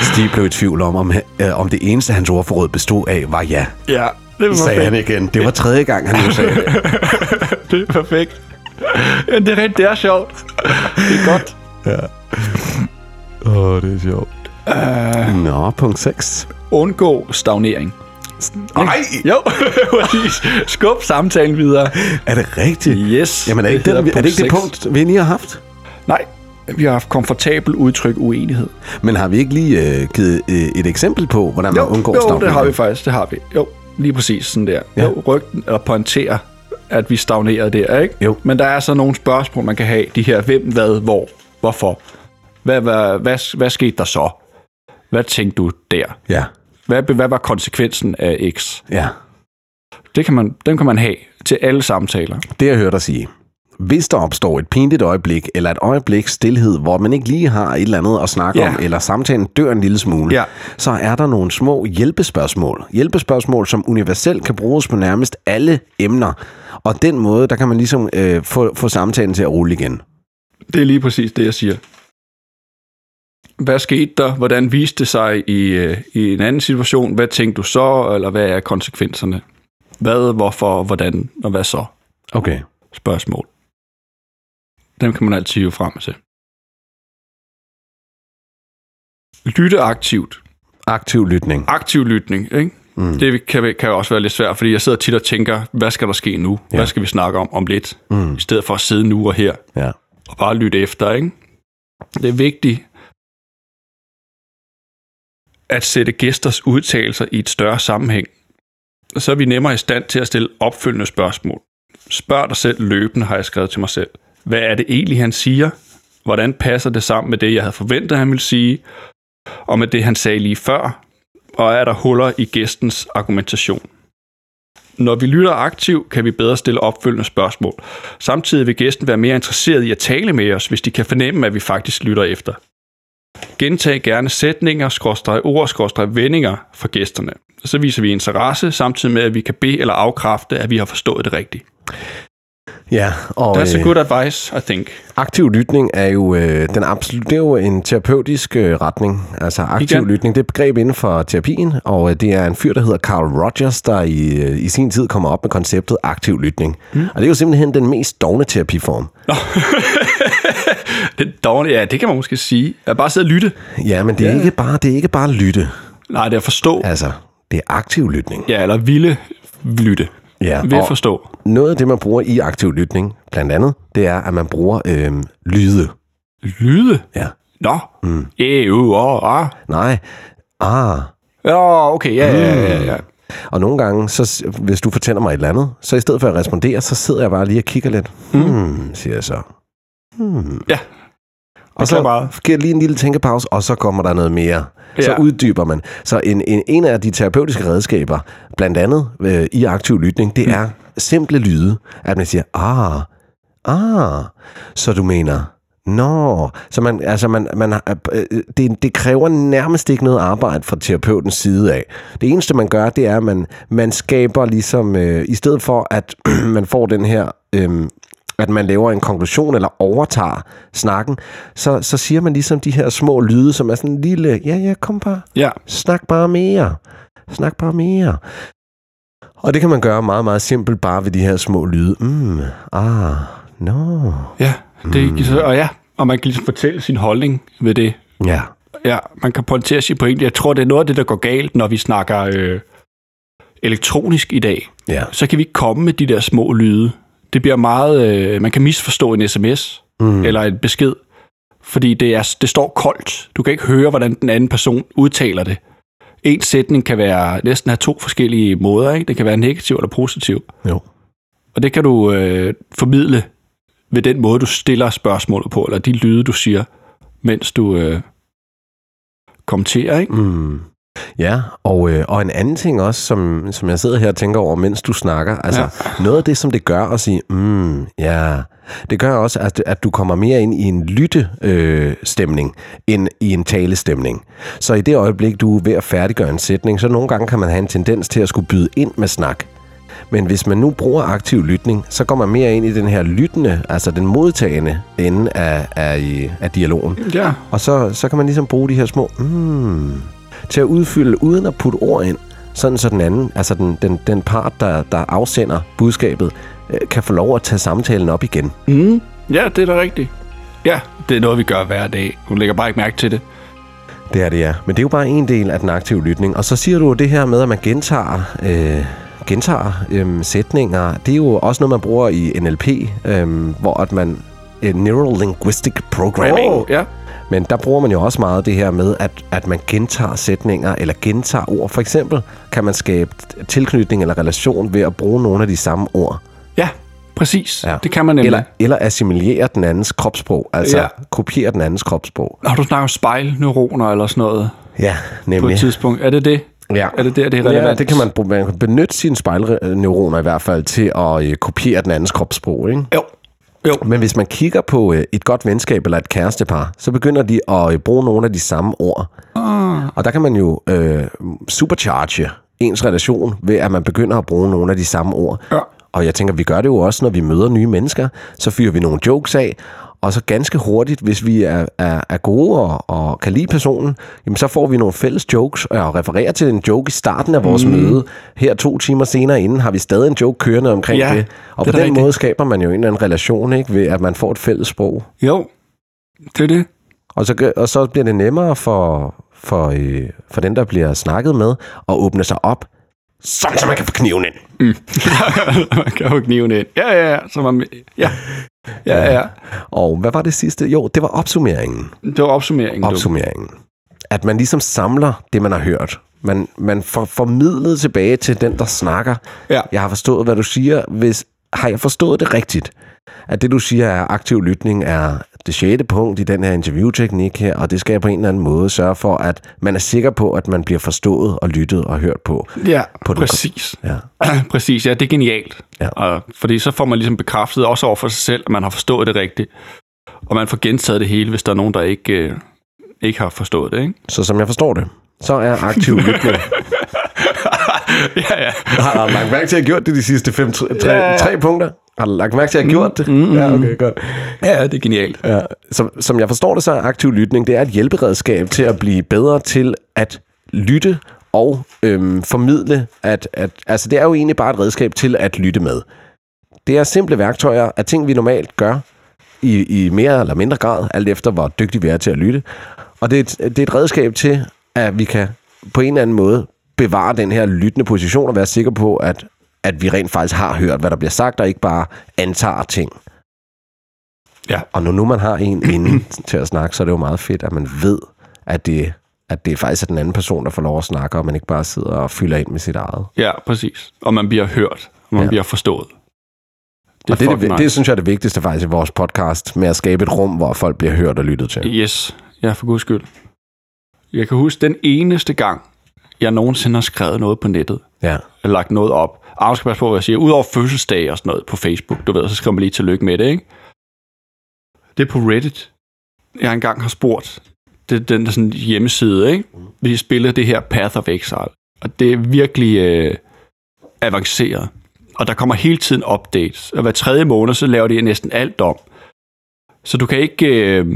S3: Stig blev i tvivl om, om, øh, om det eneste, hans ordforråd bestod af, var ja.
S1: ja. Det var
S3: Sagde han
S1: perfekt.
S3: igen. Det var tredje gang, han nu sagde det.
S1: Det er perfekt. Ja, det er rigtigt. Det er sjovt. Det er godt.
S3: Åh, oh, det er sjovt. Uh... Nå, punkt 6.
S1: Undgå stagnering.
S3: Nej,
S1: Jo, præcis. Skub samtalen videre.
S3: er det rigtigt?
S1: Yes.
S3: Jamen, er det, ikke
S1: hedder
S3: det, er det ikke det
S1: seks.
S3: punkt, vi lige har haft?
S1: Nej, vi har haft komfortabel udtryk uenighed.
S3: Men har vi ikke lige øh, givet øh, et eksempel på, hvordan man undgår
S1: jo
S3: stavning?
S1: det har vi faktisk, det har vi. Jo, lige præcis sådan der.
S3: Ja.
S1: Ja. Jo, rygten og pointere, at vi stagnerer der, ikke?
S3: Jo.
S1: Men der er så nogle spørgsmål, man kan have. De her, hvem, hvad, hvor, hvorfor? Hvad, hvad, hvad, hvad skete der så? Hvad tænkte du der?
S3: Ja,
S1: Hvad, hvad var konsekvensen af X?
S3: ja.
S1: Det kan man, dem kan man have til alle samtaler.
S3: Det jeg hørte dig sige. Hvis der opstår et pinligt øjeblik, eller et øjeblik stillhed, hvor man ikke lige har et eller andet at snakke
S1: Ja.
S3: om, eller samtalen dør en lille smule,
S1: Ja.
S3: så er der nogle små hjælpespørgsmål. Hjælpespørgsmål, som universelt kan bruges på nærmest alle emner. Og den måde, der kan man ligesom øh, få, få samtalen til at rulle igen.
S1: Det er lige præcis det, jeg siger. Hvad skete der? Hvordan viste det sig i, øh, i en anden situation? Hvad tænkte du så? Eller hvad er konsekvenserne? Hvad, hvorfor, hvordan og hvad så?
S3: Okay.
S1: Spørgsmål. Dem kan man altid hive frem til. Lytte aktivt.
S3: Aktiv lytning.
S1: Aktiv lytning, ikke? Mm. Det kan, kan også være lidt svært, fordi jeg sidder tit og tænker, hvad skal der ske nu? Ja. Hvad skal vi snakke om om lidt? Mm. I stedet for at sidde nu og her
S3: Ja.
S1: og bare lytte efter, ikke? Det er vigtigt at sætte gæsters udtalelser i et større sammenhæng. Så er vi nemmere i stand til at stille opfølgende spørgsmål. Spørg dig selv løbende, har jeg skrevet til mig selv. Hvad er det egentlig, han siger? Hvordan passer det sammen med det, jeg havde forventet, han ville sige? Og med det, han sagde lige før? Og er der huller i gæstens argumentation? Når vi lytter aktivt, kan vi bedre stille opfølgende spørgsmål. Samtidig vil gæsten være mere interesseret i at tale med os, hvis de kan fornemme, at vi faktisk lytter efter. Gentag gerne sætninger, skråstreg ord, skråstreg vendinger for gæsterne. Så viser vi interesse, samtidig med, at vi kan bede eller afkræfte, at vi har forstået det rigtigt.
S3: Ja, og
S1: That's a
S3: øh,
S1: good advice, I think.
S3: aktiv lytning er jo øh, den absolut, det er jo en terapeutisk øh, retning. Altså aktiv Igen.
S1: Igen.
S3: lytning, det er et begreb inden for terapien, og øh, det er en fyr, der hedder Carl Rogers, der i, øh, i sin tid kommer op med konceptet aktiv lytning. Mm. Og det er jo simpelthen den mest dogne terapiform.
S1: Det er dårligt, ja, det kan man måske sige. At bare sidde og lytte.
S3: Ja, men det er, ikke, bare, det er ikke bare lytte.
S1: Nej, det er at forstå.
S3: Altså, det er aktiv lytning.
S1: Ja, eller ville lytte.
S3: Ja,
S1: Vil
S3: og-
S1: forstå.
S3: Noget af det, man bruger i aktiv lytning, blandt andet, det er, at man bruger øh, lyde.
S1: Lyde?
S3: Ja.
S1: Nå. Mm. EU, og, ah.
S3: Nej. Ah,
S1: Ja, okay, ja, ja, ja, ja, ja.
S3: Og nogle gange, så, s- hvis du fortæller mig et eller andet, så i stedet for at
S1: Mm.
S3: respondere, så sidder jeg bare lige og kigger lidt. Hmm, siger jeg så.
S1: ja.
S3: Og
S1: kan
S3: så
S1: meget.
S3: giver lige en lille tænkepause, og så kommer der noget mere. Så
S1: Ja.
S3: uddyber man. Så en, en, en af de terapeutiske redskaber, blandt andet øh, i aktiv lytning,
S1: Mm.
S3: det er simple lyde. At man siger, ah, ah, så du mener, nå. Så man, altså man, man har- øh, det, det kræver nærmest ikke noget arbejde fra terapeutens side af. Det eneste, man gør, det er, at man, man skaber ligesom, øh, i stedet for, at man får den her... Øh, at man laver en konklusion eller overtager snakken, så, så siger man ligesom de her små lyde, som er sådan en lille, ja, ja, kom bare,
S1: Ja.
S3: Snak bare mere. Snak bare mere. Og det kan man gøre meget, meget simpelt, bare ved de her små lyde. Mm, ah, no.
S1: Ja, det, mm. og ja, og man kan ligesom fortælle sin holdning ved det.
S3: Ja,
S1: Ja, man kan pointere sin pointe. Jeg tror, det er noget af det, der går galt, når vi snakker øh, elektronisk i dag.
S3: ja.
S1: Så kan vi ikke komme med de der små lyde. Det bliver meget... Øh, man kan misforstå en sms mm. eller en besked, fordi det, er, det står koldt. Du kan ikke høre, hvordan den anden person udtaler det. En sætning kan være næsten have to forskellige måder. Ikke? Det kan være negativ eller positiv.
S3: Jo.
S1: Og det kan du øh, formidle ved den måde, du stiller spørgsmålet på, eller de lyde, du siger, mens du øh, kommenterer. Ikke?
S3: Mm. Ja, og, øh, og en anden ting også, som, som jeg sidder her og tænker over, mens du snakker, altså ja. noget af det, som det gør at sige, mm, ja, det gør også, at, at du kommer mere ind i en lyttestemning, øh, stemning, end i en talestemning. Så i det øjeblik, du er ved at færdiggøre en sætning, så nogle gange kan man have en tendens til at skulle byde ind med snak. Men hvis man nu bruger aktiv lytning, så går man mere ind i den her lyttende, altså den modtagende ende af, af, af dialogen.
S1: Ja.
S3: Og så, så kan man ligesom bruge de her små mm, til at udfylde uden at putte ord ind, sådan så den anden, altså den, den, den part, der, der afsender budskabet, øh, kan få lov at tage samtalen op igen.
S1: ja, det er da rigtigt. Ja, det er noget, vi gør hver dag. Hun lægger bare ikke mærke til det.
S3: Det er det, ja. Men det er jo bare en del af den aktive lytning. Og så siger du jo det her med, at man gentager, øh, gentager øh, sætninger. Det er jo også noget, man bruger i NLP, øh, hvor at man... øh, Neural Linguistic Programming.
S1: Åh, ja.
S3: Men der bruger man jo også meget det her med, at, at man gentager sætninger eller gentager ord. For eksempel kan man skabe t- tilknytning eller relation ved at bruge nogle af de samme ord.
S1: ja, præcis.
S3: Ja.
S1: Ja. Det kan man nemlig.
S3: Eller,
S1: Eller...
S3: eller assimilere den andens kropssprog, altså ja.
S1: Ja.
S3: kopiere den andens kropssprog.
S1: Når du snakker om spejlneuroner eller sådan noget
S3: Ja,
S1: på et
S3: nemlig.
S1: tidspunkt, er det det?
S3: Ja.
S1: Er det der, det er relevant?
S3: Ja, det kan man, bruge. man kan benytte sine spejlneuroner i hvert fald til at øh, kopiere den andens kropssprog, ikke?
S1: Jo. Jo.
S3: Men hvis man kigger på øh, et godt venskab eller et kærestepar, så begynder de at øh, bruge nogle af de samme ord. Ah. Og der kan man jo øh, supercharge ens relation ved, at man begynder at bruge nogle af de samme ord.
S1: Ja.
S3: Og jeg tænker, vi gør det jo også, når vi møder nye mennesker. Så fyrer vi nogle jokes af, og så ganske hurtigt, hvis vi er, er, er gode og, og kan lide personen, jamen så får vi nogle fælles jokes og refererer til en joke i starten af vores mm. møde. Her to timer senere inden har vi stadig en joke kørende omkring
S1: Ja,
S3: det.
S1: det er
S3: Og på
S1: da
S3: den
S1: rigtigt.
S3: måde skaber man jo en eller anden relation, ikke? Ved at man får et fælles sprog.
S1: Jo, det er det.
S3: Og så, gør- og så bliver det nemmere for, for, øh, for den, der bliver snakket med, at åbne sig op, sådan så man kan få kniven ind.
S1: man kan jo kniven ind. Ja, ja, ja. Så man, ja. ja, ja.
S3: Og hvad var det sidste? Jo, det var opsummeringen.
S1: Det var opsummeringen. du.
S3: Opsummeringen. At man ligesom samler det, man har hørt. Man, man får formidlet tilbage til den, der snakker.
S1: Ja.
S3: Jeg har forstået, hvad du siger. Hvis, har jeg forstået det rigtigt? At det, du siger, er aktiv lytning, er det sjette punkt i den her interviewteknik her, og det skal jeg på en eller anden måde sørge for, at man er sikker på, at man bliver forstået og lyttet og hørt på.
S1: Ja,
S3: På
S1: på
S3: den-
S1: præcis.
S3: Ja.
S1: præcis, ja, det er genialt.
S3: Ja.
S1: Og, fordi så får man ligesom bekræftet også over for sig selv, at man har forstået det rigtigt. Og man får gentaget det hele, hvis der er nogen, der ikke, øh, ikke har forstået det, ikke?
S3: Så som jeg forstår det, så er aktiv lytning.
S1: ja, ja.
S3: Har du lagt mærke til, at jeg har gjort det de sidste fem, tre, tre, ja, ja. tre punkter? Har du lagt mærke til, at jeg har gjort det? Mm, ja, okay, godt.
S1: Ja, det er genialt.
S3: Ja, som, som jeg forstår det, så er aktiv lytning, det er et hjælperedskab til at blive bedre til at lytte og øhm, formidle. At, at, altså, det er jo egentlig bare et redskab til at lytte med. Det er simple værktøjer af ting, vi normalt gør i, i mere eller mindre grad, alt efter hvor dygtige vi er til at lytte. Og det er, et, det er et redskab til, at vi kan på en eller anden måde bevare den her lyttende position og være sikre på, at, at vi rent faktisk har hørt, hvad der bliver sagt, og ikke bare antager ting. Og nu, nu man har en inden til at snakke, så er det jo meget fedt, at man ved, at det, at det faktisk er den anden person, der får lov at snakke, og man ikke bare sidder og fylder ind med sit eget.
S1: Ja, præcis. Og man bliver hørt, og man
S3: Ja.
S1: ja. bliver forstået.
S3: Det og det, er det,
S1: fucking
S3: det, synes jeg er det vigtigste faktisk i vores podcast, med at skabe et rum, hvor folk bliver hørt og lyttet til.
S1: Yes, ja, for guds skyld. Jeg kan huske den eneste gang, jeg nogensinde har skrevet noget på nettet,
S3: Ja.
S1: eller lagt noget op. Arne skal passe på, hvad jeg siger. Udover fødselsdag og sådan noget på Facebook, du ved, så skriver man lige tillykke med det, ikke? Det er på Reddit. Jeg engang har spurgt, det er den der sådan hjemmeside, ikke? Vi spiller det her Path of Exile, og det er virkelig øh, avanceret. Og der kommer hele tiden updates, og hver tredje måned, så laver de næsten alt om. Så du kan ikke øh,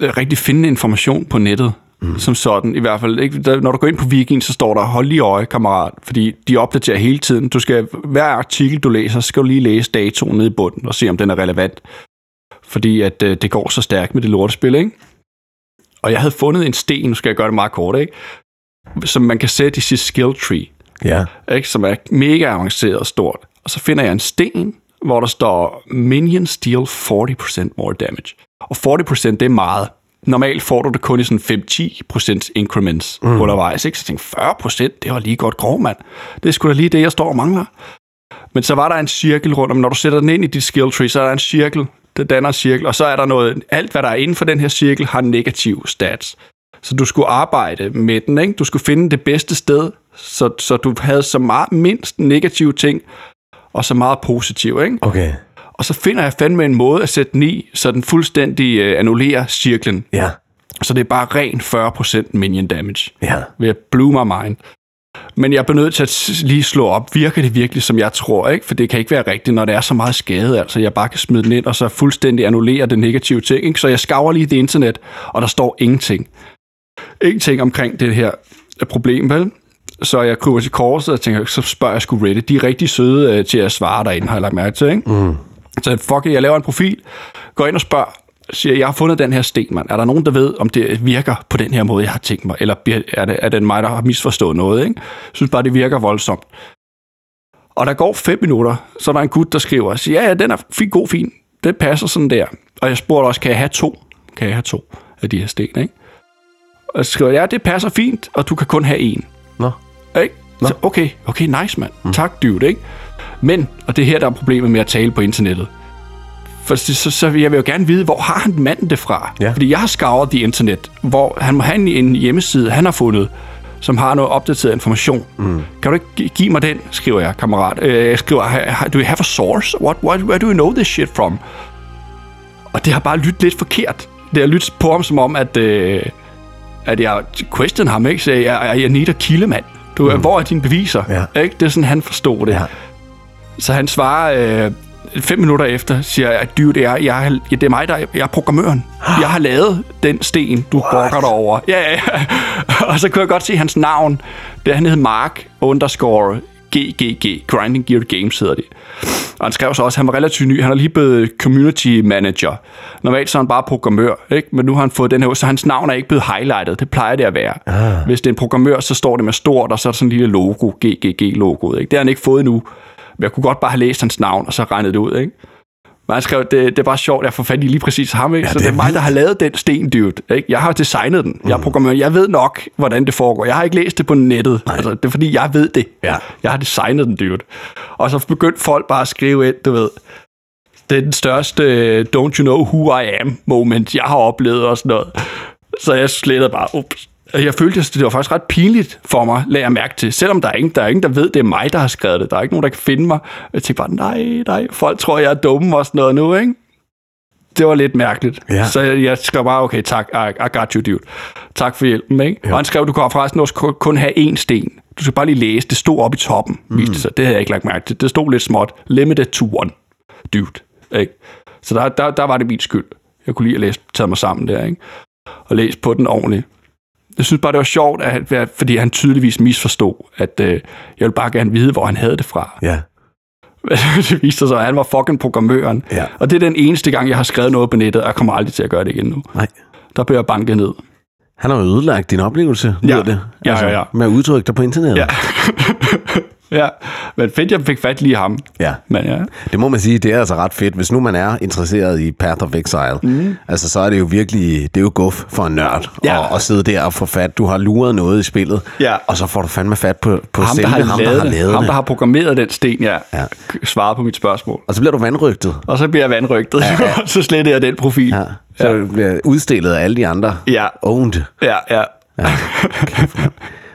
S1: rigtig finde information på nettet, mm. som sådan, i hvert fald. Ikke? Der, når du går ind på Viking, så står der, hold lige øje, kammerat, fordi de opdaterer hele tiden. Du skal, hver artikel, du læser, skal du lige læse datoen nede i bunden og se, om den er relevant. Fordi at øh, det går så stærkt med det lortespil, ikke? Og jeg havde fundet en sten, nu skal jeg gøre det meget kort, ikke? Som man kan sætte i sit skill tree
S3: Ja.
S1: ikke, som er mega avanceret og stort. Og så finder jeg en sten, hvor der står Minions deal 40% more damage. Og 40% det er meget. Normalt får du det kun i sådan 5-10% increments mm. undervejs. Ikke? Så jeg tænkte, 40% det var lige godt grov, mand. Det er sgu da lige det, jeg står og mangler. Men så var der en cirkel rundt om, når du sætter den ind i dit skill tree, så er der en cirkel, der danner en cirkel, og så er der noget, alt hvad der er inden for den her cirkel, har negativ stats. Så du skulle arbejde med den, ikke? Du skulle finde det bedste sted, så, så du havde så meget mindst negative ting, og så meget positive, ikke?
S3: Okay.
S1: Og så finder jeg fandme en måde at sætte den i, så den fuldstændig øh, annullerer cirklen.
S3: Ja.
S1: Så det er bare ren 40% minion damage
S3: Ja.
S1: ved at blew my mind. Men jeg er nødt til at s- lige slå op, virker det virkelig, som jeg tror, ikke? For det kan ikke være rigtigt, når det er så meget skade, altså jeg bare kan smide den ind, og så fuldstændig annullere det negative ting, ikke? Så jeg skaver lige det internet, og der står ingenting. Ingenting omkring det her problem, vel? Så jeg kryber til korset og tænker, så spørger jeg sgu Reddit. De er rigtig søde øh, til at svare derinde, har jeg lagt mærke til, ikke? Mm. Så fuck it, jeg laver en profil, går ind og spørger, siger, jeg har fundet den her sten, mand. Er der nogen, der ved, om det virker på den her måde, jeg har tænkt mig? Eller bliver- er det, er det mig, der har misforstået noget? Ikke? Jeg synes bare, det virker voldsomt. Og der går fem minutter, så er der en gut, der skriver, siger, ja, ja, den er fint, god, fin. Det passer sådan der. Og jeg spurgte også, kan jeg have to? Kan jeg have to af de her sten, ikke? Og så skriver jeg, ja, det passer fint, og du kan kun have en.
S3: Nå.
S1: Ikke? Så, okay, okay, nice mand. Mm. Tak, dude, ikke? Men, og det er her, der er problemet med at tale på internettet. For så, så, så vil jeg vil jo gerne vide, hvor har han manden det fra?
S3: Ja.
S1: Fordi jeg har scoret det internet, hvor han må have en- en hjemmeside, han har fundet, som har noget opdateret information. Mm. Kan du ikke gi- give mig den, skriver jeg, kammerat. Øh, jeg skriver, "Ha- ha- do you have a source? What, what, where do you know this shit from? Og det har bare lyttet lidt forkert. Det har lyttet på ham som om, at... Øh, at jeg question ham, ikke? Så jeg, jeg, jeg need a killemand. Du, mm. hvor er dine beviser?
S3: Ja.
S1: Ikke? Det er sådan, han forstod det.
S3: Ja.
S1: Så han svarer øh, fem minutter efter, siger jeg, dude, det er, jeg, er- ja, det er mig, der er- jeg er programmøren. Jeg har lavet den sten, du brokker dig over. Ja, ja, ja. Og så kunne jeg godt se hans navn. Det, han hed Mark underscore GGG. Grinding Gear Games hedder det. Og han skrev så også, at han var relativt ny. Han er lige blevet community manager. Normalt så er han bare programmør, ikke? men nu har han fået den her ud, så hans navn er ikke blevet highlightet. Det plejer det at være. Ah. Hvis det er en programmør, så står det med stort, og så er der sådan en lille logo, GGG-logoet. Ikke? Det har han ikke fået endnu. Men jeg kunne godt bare have læst hans navn, og så regnet det ud. Ikke? Men han skrev, det, det er bare sjovt, jeg får fat i lige præcis ham. Ikke? Ja, så
S3: det
S1: det er
S3: er
S1: Mm. mig, der har lavet den sten, dude. Ikke? Jeg har designet den. Jeg er programmør. Jeg ved nok, hvordan det foregår. Jeg har ikke læst det på nettet. Altså, det er fordi, jeg ved det.
S3: Ja.
S1: Jeg har designet den, dude. Og så begyndte folk bare at skrive ind, du ved. Det er den største øh, don't you know who I am moment, jeg har oplevet og sådan noget. Så jeg slettede bare, ups. Jeg følte, at det var faktisk ret pinligt for mig, lagde jeg mærke til. Selvom der er, ingen, der er ingen, der ved, det er mig, der har skrevet det. Der er ikke nogen, der kan finde mig. Jeg tænkte bare, nej, nej, folk tror, jeg er dumme og sådan noget nu, ikke? Det var lidt mærkeligt.
S3: Ja.
S1: Så jeg, jeg skrev bare, okay, tak, I, I got you, dude. Tak for hjælpen, ikke? Og han skrev, du kan forresten også kun- kun have én sten. Du skal bare lige læse, det stod oppe i toppen, mm. viste det sig. Det havde jeg ikke lagt mærke til. Det stod lidt småt. Limited to one, dude. Ikke? Så der, der, der var det min skyld. Jeg kunne lige at læse, tage mig sammen der, ikke? Og læse på den ordentligt. Jeg synes bare, det var sjovt, at, han- fordi han tydeligvis misforstod, at øh, jeg ville bare gerne vide, hvor han havde det fra.
S3: Ja.
S1: det viste sig, så, at han var fucking programmøren.
S3: Ja.
S1: Og det er den eneste gang, jeg har skrevet noget på nettet, og jeg kommer aldrig til at gøre det igen nu.
S3: Nej.
S1: Der blev jeg banket ned.
S3: Han har jo ødelagt din oplevelse, lyder det. Altså,
S1: Ja, ja, ja.
S3: Med at udtrykke dig på internettet.
S1: Ja. ja. Men fedt, jeg fik fat lige ham.
S3: Ja.
S1: Men ja.
S3: Det må man sige, det er altså ret fedt. Hvis nu man er interesseret i Path of Exile, mm. altså så er det jo virkelig, det er jo guf for en nørd
S1: Ja.
S3: at, at sidde der og få fat. Du har luret noget i spillet,
S1: Ja.
S3: og så får du fandme fat på, på
S1: Ham, der
S3: selve
S1: har,
S3: ham, der har lavet
S1: ham,
S3: det.
S1: der har programmeret den sten, ja,
S3: Ja.
S1: ja. svarede på mit spørgsmål.
S3: Og så bliver du vandrygtet.
S1: Og så bliver jeg vandrygtet, ja, ja. så sletter jeg den profil.
S3: Ja. Så du bliver udstillet af alle de andre.
S1: Ja.
S3: Owned.
S1: ja. ja.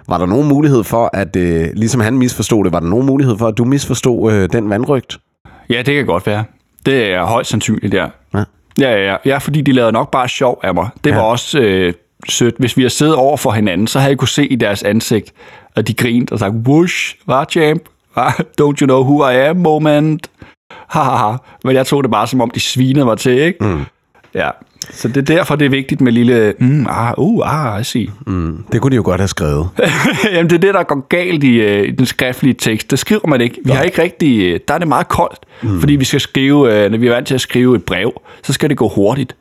S3: Var der nogen mulighed for, at øh, ligesom han misforstod det, var der nogen mulighed for, at du misforstod øh, den vandrygt?
S1: Ja, det kan godt være. Det er højst sandsynligt, ja.
S3: Ja.
S1: Ja, ja, ja. ja fordi de lavede nok bare sjov af mig. Det ja. var også øh, sødt. Hvis vi havde siddet over for hinanden, så havde jeg kunne se i deres ansigt, at de grinte og sagde, whoosh, var champ, hva? don't you know who I am moment. Ha, ha, ha. Men jeg tog det bare, som om de svinede mig til, ikke? Mm. Ja, så det er derfor, det er vigtigt med lille, mm, ah, uh, ah, I see. Mm.
S3: Det kunne de jo godt have skrevet.
S1: Jamen, det er det, der går galt i, øh, i den skriftlige tekst. Det skriver man ikke. Vi har ikke rigtig... Øh, der er det meget koldt, mm. fordi vi skal skrive... Øh, når vi er vant til at skrive et brev, så skal det gå hurtigt.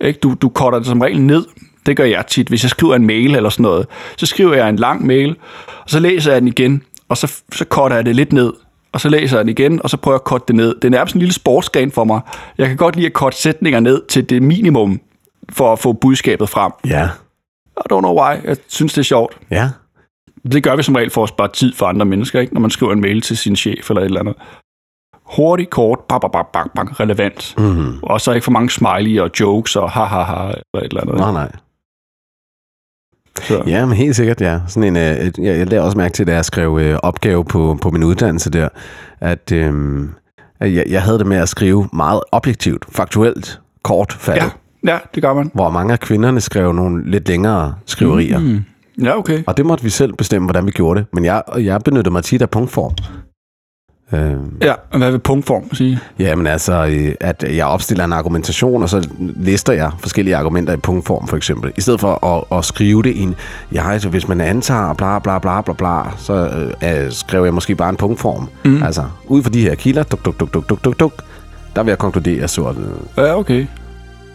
S1: Ikke? Du, du korter det som regel ned. Det gør jeg tit. Hvis jeg skriver en mail eller sådan noget, så skriver jeg en lang mail, og så læser jeg den igen, og så, så korter jeg det lidt ned. Og så læser jeg den igen, og så prøver jeg at korte det ned. Det er nærmest en lille sportsgren for mig. Jeg kan godt lide at korte sætninger ned til det minimum, for at få budskabet frem.
S3: Ja.
S1: I don't know why. Jeg synes, det er sjovt.
S3: Ja.
S1: Det gør vi som regel for at spare tid for andre mennesker, ikke? når man skriver en mail til sin chef eller et eller andet. Hurtigt, kort, bang, bang, bang, bang, bang relevant.
S3: Mm.
S1: Og så ikke for mange smiley og jokes og ha, ha, ha, eller et eller andet.
S3: Nej, nej.
S1: Så.
S3: Ja, men helt sikkert, ja. Sådan en, øh, et- jeg, jeg lagde også mærke til, da jeg skrev øh, opgave på, på min uddannelse der, at, øh, at jeg, jeg havde det med at skrive meget objektivt, faktuelt, kort faldet,
S1: Ja,
S3: ja.
S1: ja, det gør man.
S3: hvor mange af kvinderne skrev nogle lidt længere skriverier. Mm.
S1: Ja, okay.
S3: Og det måtte vi selv bestemme, hvordan vi gjorde det. Men jeg, og jeg benyttede mig tit af punktform. Øh,
S1: Ja, og hvad vil punktform sige?
S3: jamen altså, øh, at jeg opstiller en argumentation, og så lister jeg forskellige argumenter i punktform, for eksempel. I stedet for at, at skrive det i en... Jeg, altså, hvis man antager bla bla bla bla bla, så øh, øh, skrev jeg måske bare en punktform. Mm. Altså, ud fra de her kilder, duk, duk, duk, duk, duk, duk, duk, der vil jeg konkludere, så er det,
S1: Ja, okay.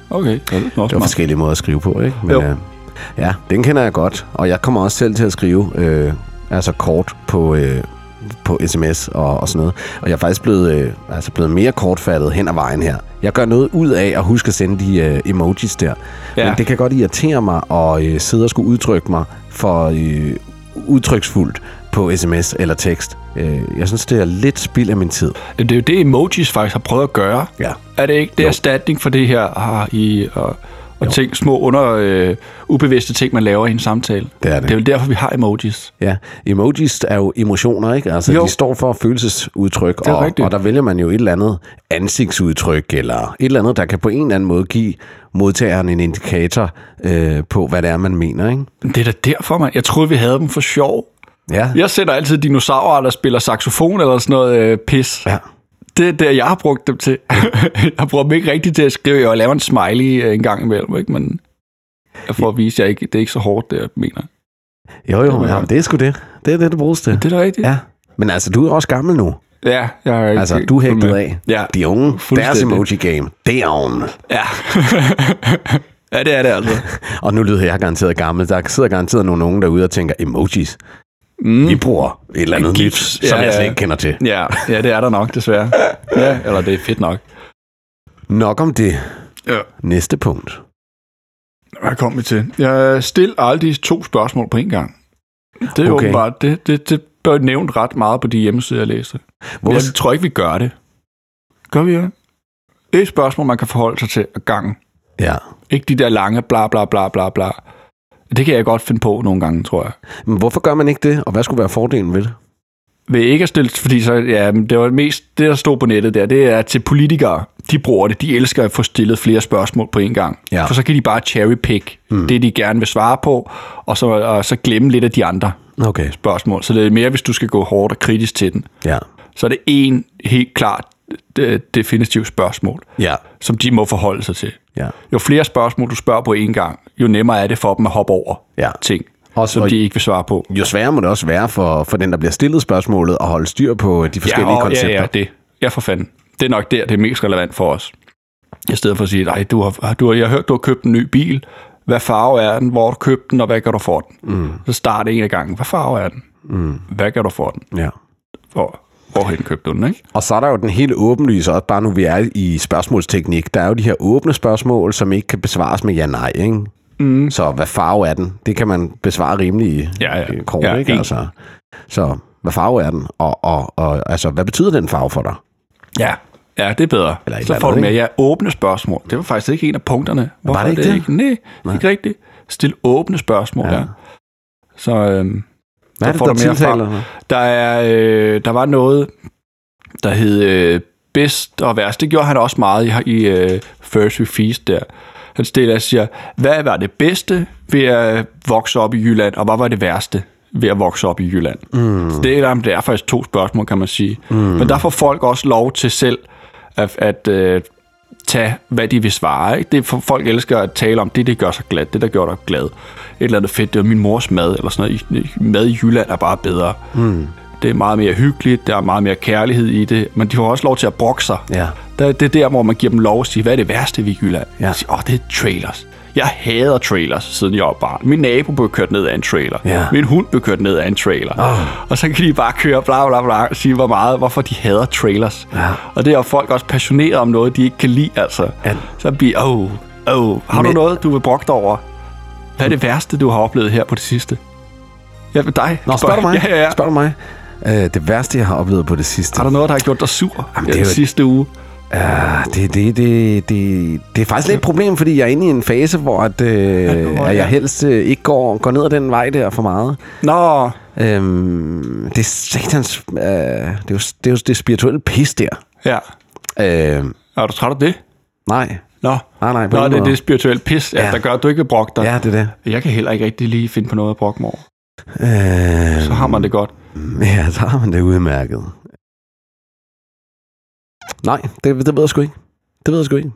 S1: Okay, ja, det er
S3: Det
S1: også
S3: var
S1: meget.
S3: forskellige måder at skrive på, ikke?
S1: Jo.
S3: øh, ja, den kender jeg godt, og jeg kommer også selv til at skrive øh, altså kort på, øh, på sms og, og sådan noget. Og jeg er faktisk blevet, øh, altså blevet mere kortfattet hen ad vejen her. Jeg gør noget ud af at huske at sende de øh, emojis der. Ja.
S1: Ja.
S3: Men det kan godt irritere mig at øh, sidde og skulle udtrykke mig for øh, udtryksfuldt på sms eller tekst. Øh, jeg synes, det er lidt spild af min tid.
S1: Det er jo det, emojis faktisk har prøvet at gøre.
S3: Ja.
S1: Er det ikke? Det er erstatning for det her ah, i, og, og ting, små under øh, ubevidste ting, man laver i en samtale.
S3: Det er det.
S1: Det er jo derfor, vi har emojis.
S3: Ja, emojis er jo emotioner, ikke? Altså, jo.
S1: Jo.
S3: de står for følelsesudtryk,
S1: er
S3: og,
S1: rigtigt.
S3: og der vælger man jo et eller andet ansigtsudtryk, eller et eller andet, der kan på en eller anden måde give modtageren en indikator øh, på, hvad det er, man mener, ikke?
S1: Det er da derfor, man. Jeg troede, vi havde dem for sjov.
S3: Ja.
S1: Jeg sætter altid dinosaurer, der spiller saxofon eller sådan noget øh, pis.
S3: Ja.
S1: Det er der, jeg har brugt dem til. jeg bruger dem ikke rigtigt til at skrive. Jeg laver en smiley øh, en gang imellem, ikke? men for at vise, at jeg ikke, det er ikke så hårdt, det jeg mener.
S3: Jo, jo,
S1: Ja.
S3: ja. det er sgu det. Det er det, det bruges til.
S1: Det er da rigtigt.
S3: Ja. Men altså, du er også gammel nu.
S1: ja jeg er ikke
S3: Altså, du er hægtet af.
S1: Ja.
S3: De unge, deres
S1: Fuldstændig.
S3: emoji-game, det er oven.
S1: Ja. ja, det er det altså.
S3: Og nu lyder jeg garanteret gammel. Der sidder garanteret nogle unge derude og tænker, emojis. Mm. Vi bruger et eller andet nyt,
S1: Gifs.
S3: som
S1: Ja,
S3: jeg slet
S1: ja.
S3: ikke kender til.
S1: Ja, ja, det er der nok, desværre. Ja, eller det er fedt nok.
S3: Nok om det.
S1: Ja.
S3: Næste punkt.
S1: Hvad kom vi til? Jeg stiller aldrig to spørgsmål på en gang. Det er
S3: Okay.
S1: okay. åbenbart, det, det, det blev nævnt ret meget på de hjemmesider, jeg læste.
S3: Hvor,
S1: Jeg tror ikke, vi gør det. Gør vi det? Det er et spørgsmål, man kan forholde sig til ad gangen.
S3: ja.
S1: Ikke de der lange bla bla bla bla bla. Det kan jeg godt finde på nogle gange, tror jeg.
S3: Men hvorfor gør man ikke det, og hvad skulle være fordelen ved det?
S1: Ved ikke at stille, fordi så, ja, men det var mest, det der stod på nettet der, det er til politikere. De bruger det. De elsker at få stillet flere spørgsmål på en gang.
S3: Ja.
S1: For så kan de bare cherry pick mm. det, de gerne vil svare på, og så, og så glemme lidt af de andre
S3: Okay.
S1: spørgsmål. Så det er mere, hvis du skal gå hårdt og kritisk til den.
S3: Ja.
S1: Så er det en helt klart øh, definitivt spørgsmål.
S3: Ja.
S1: som de må forholde sig til.
S3: Ja.
S1: Jo flere spørgsmål du spørger på én gang, jo nemmere er det for dem at hoppe over
S3: Ja.
S1: ting,
S3: Også
S1: Også som
S3: og-
S1: de ikke vil svare på.
S3: Jo sværere må det også være for, for den, der bliver stillet spørgsmålet, at holde styr på de forskellige
S1: og-
S3: koncepter.
S1: Ja, ja, det. Ja, for fanden. Det er nok der, det er mest relevant for os. I stedet for at sige, nej, du har, du har, jeg har hørt, du har købt en ny bil. Hvad farve er den? Hvor har du købt den, og hvad gør du for den? Mm. Så start en af gangen. Hvad farve er den? Mm. Hvad gør du for den?
S3: ja.
S1: hvor, hvorhen købte du den, ikke?
S3: Og så er der jo den helt åbenlyse, også bare nu vi er i spørgsmålsteknik, der er jo de her åbne spørgsmål, som ikke kan besvares med ja-nej, ikke? Mm. Så hvad farve er den? Det kan man besvare rimelig
S1: Ja, ja.
S3: øh, kort,
S1: Ja,
S3: ikke?
S1: en.
S3: Altså, så hvad farve er den? Og, og, og altså, hvad betyder den farve for dig?
S1: Ja. Ja, det er bedre.
S3: Eller et
S1: så
S3: eller
S1: får du
S3: andet,
S1: mere ja, åbne spørgsmål. Det var faktisk ikke en af punkterne. Hvorfor
S3: det ikke
S1: er
S3: det?
S1: Ikke? Nej, det er ikke rigtigt. Stil åbne spørgsmål, ja. ja. Så øhm,
S3: Hvad er det,
S1: får
S3: der
S1: du mere
S3: tiltaler
S1: fra.
S3: dig?
S1: Der, er, øh, der var noget, der hed øh, bedst og værst. Det gjorde han også meget i, i øh, First We Feast der. Han stiller og siger, hvad var det bedste ved at vokse op i Jylland, og hvad var det værste ved at vokse op i Jylland? Mm. Så det er, der- det er faktisk to spørgsmål, kan man sige. Mm. Men der får folk også lov til selv at, at øh, tage, hvad de vil svare. Ikke? Det er, for folk elsker at tale om det, det gør sig glad, det der gør dig glad. Et eller andet fedt, det er min mors mad, eller sådan noget. Mad i Jylland er bare bedre. Mm. Det er meget mere hyggeligt, der er meget mere kærlighed i det, men de får også lov til at brokke sig.
S3: Ja.
S1: Der, det er der, hvor man giver dem lov at sige, hvad er det værste ved Jylland?
S3: Ja.
S1: Ja. Sige, åh, det er trailers. Jeg hader trailers, siden jeg var barn. Min nabo blev kørt ned af en trailer.
S3: Ja.
S1: Min hund blev kørt ned af en trailer. Oh. Og så kan de bare køre bla bla bla og sige, hvor meget, hvorfor de hader trailers. Ja. Og det er jo folk også passionerede om noget, de ikke kan lide, altså.
S3: Ja.
S1: Så bliver, åh, oh, oh. har
S3: Men-
S1: du noget, du vil brokke dig over? Hvad er det værste, du har oplevet her på det sidste? Ja, med dig.
S3: Nå, spørg du mig?
S1: Ja, ja, ja.
S3: Spørg du mig? Øh, det værste, jeg har oplevet på det sidste,
S1: Har der noget, der har gjort dig sur Jamen,
S3: det
S1: det
S3: er jo-
S1: den sidste uge?
S3: Ah, det, det, det, det, det er faktisk lidt et problem, fordi jeg er inde i en fase, hvor at, øh,
S1: hvor
S3: at
S1: er-
S3: jeg helst øh, ikke går, går ned ad den vej der for meget.
S1: Nå,
S3: Øhm, det er satans... Øh, det, er jo, det er jo det spirituelle pis der.
S1: ja.
S3: Øh,
S1: Er du træt af det?
S3: nej.
S1: Nå,
S3: Nej, nej, på
S1: Nå
S3: ingen
S1: det er
S3: måde.
S1: det spirituelle pis, ja,
S3: Ja.
S1: ja. der gør, at du ikke vil brokke dig.
S3: Ja, det er det.
S1: Jeg kan heller ikke rigtig lige finde på noget at brokke mig over.
S3: Øh,
S1: Så har man det godt.
S3: Mm, Ja, så har man det udmærket. Nej, det, det ved jeg sgu ikke. Det ved jeg sgu ikke.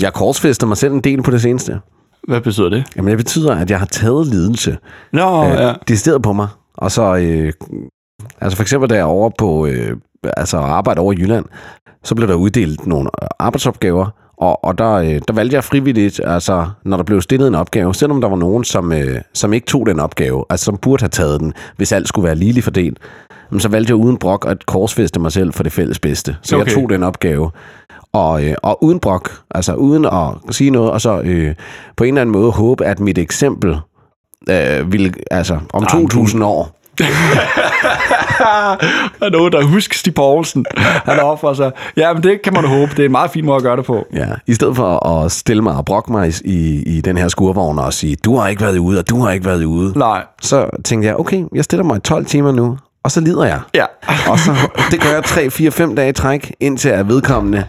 S3: Jeg korsfester mig selv en del på det seneste.
S1: Hvad betyder det?
S3: Jamen, det betyder, at jeg har taget lidelse.
S1: Nå,
S3: øh,
S1: ja.
S3: ja. decideret på mig. Og så, øh, altså for eksempel, da jeg er over på, øh, altså arbejde over i Jylland, så blev der uddelt nogle øh, arbejdsopgaver, og, og der, øh, der valgte jeg frivilligt, altså når der blev stillet en opgave, selvom der var nogen, som, øh, som ikke tog den opgave, altså som burde have taget den, hvis alt skulle være ligeligt fordelt, jamen, så valgte jeg uden brok at korsfeste mig selv for det fælles bedste. Så okay.
S1: Okay.
S3: jeg tog den opgave. Og, øh, og uden brok, altså uden at sige noget, og så øh, på en eller anden måde håbe, at mit eksempel øh, ville, altså om 2.000 år,
S1: Der er noget, der husker Stig Poulsen. Han offrer sig. Ja, men det kan man håbe. Det er en meget fin måde at gøre det på.
S3: Ja, i stedet for at stille mig og brokke mig i, i, i den her skurvogn og sige, du har ikke været ude, og du har ikke været ude,
S1: Nej.
S3: så tænkte jeg, okay, jeg stiller mig i 12 timer nu, og så lider jeg.
S1: Ja.
S3: Og så, det gør jeg 3, 4, 5 dage i træk, indtil jeg er vedkommende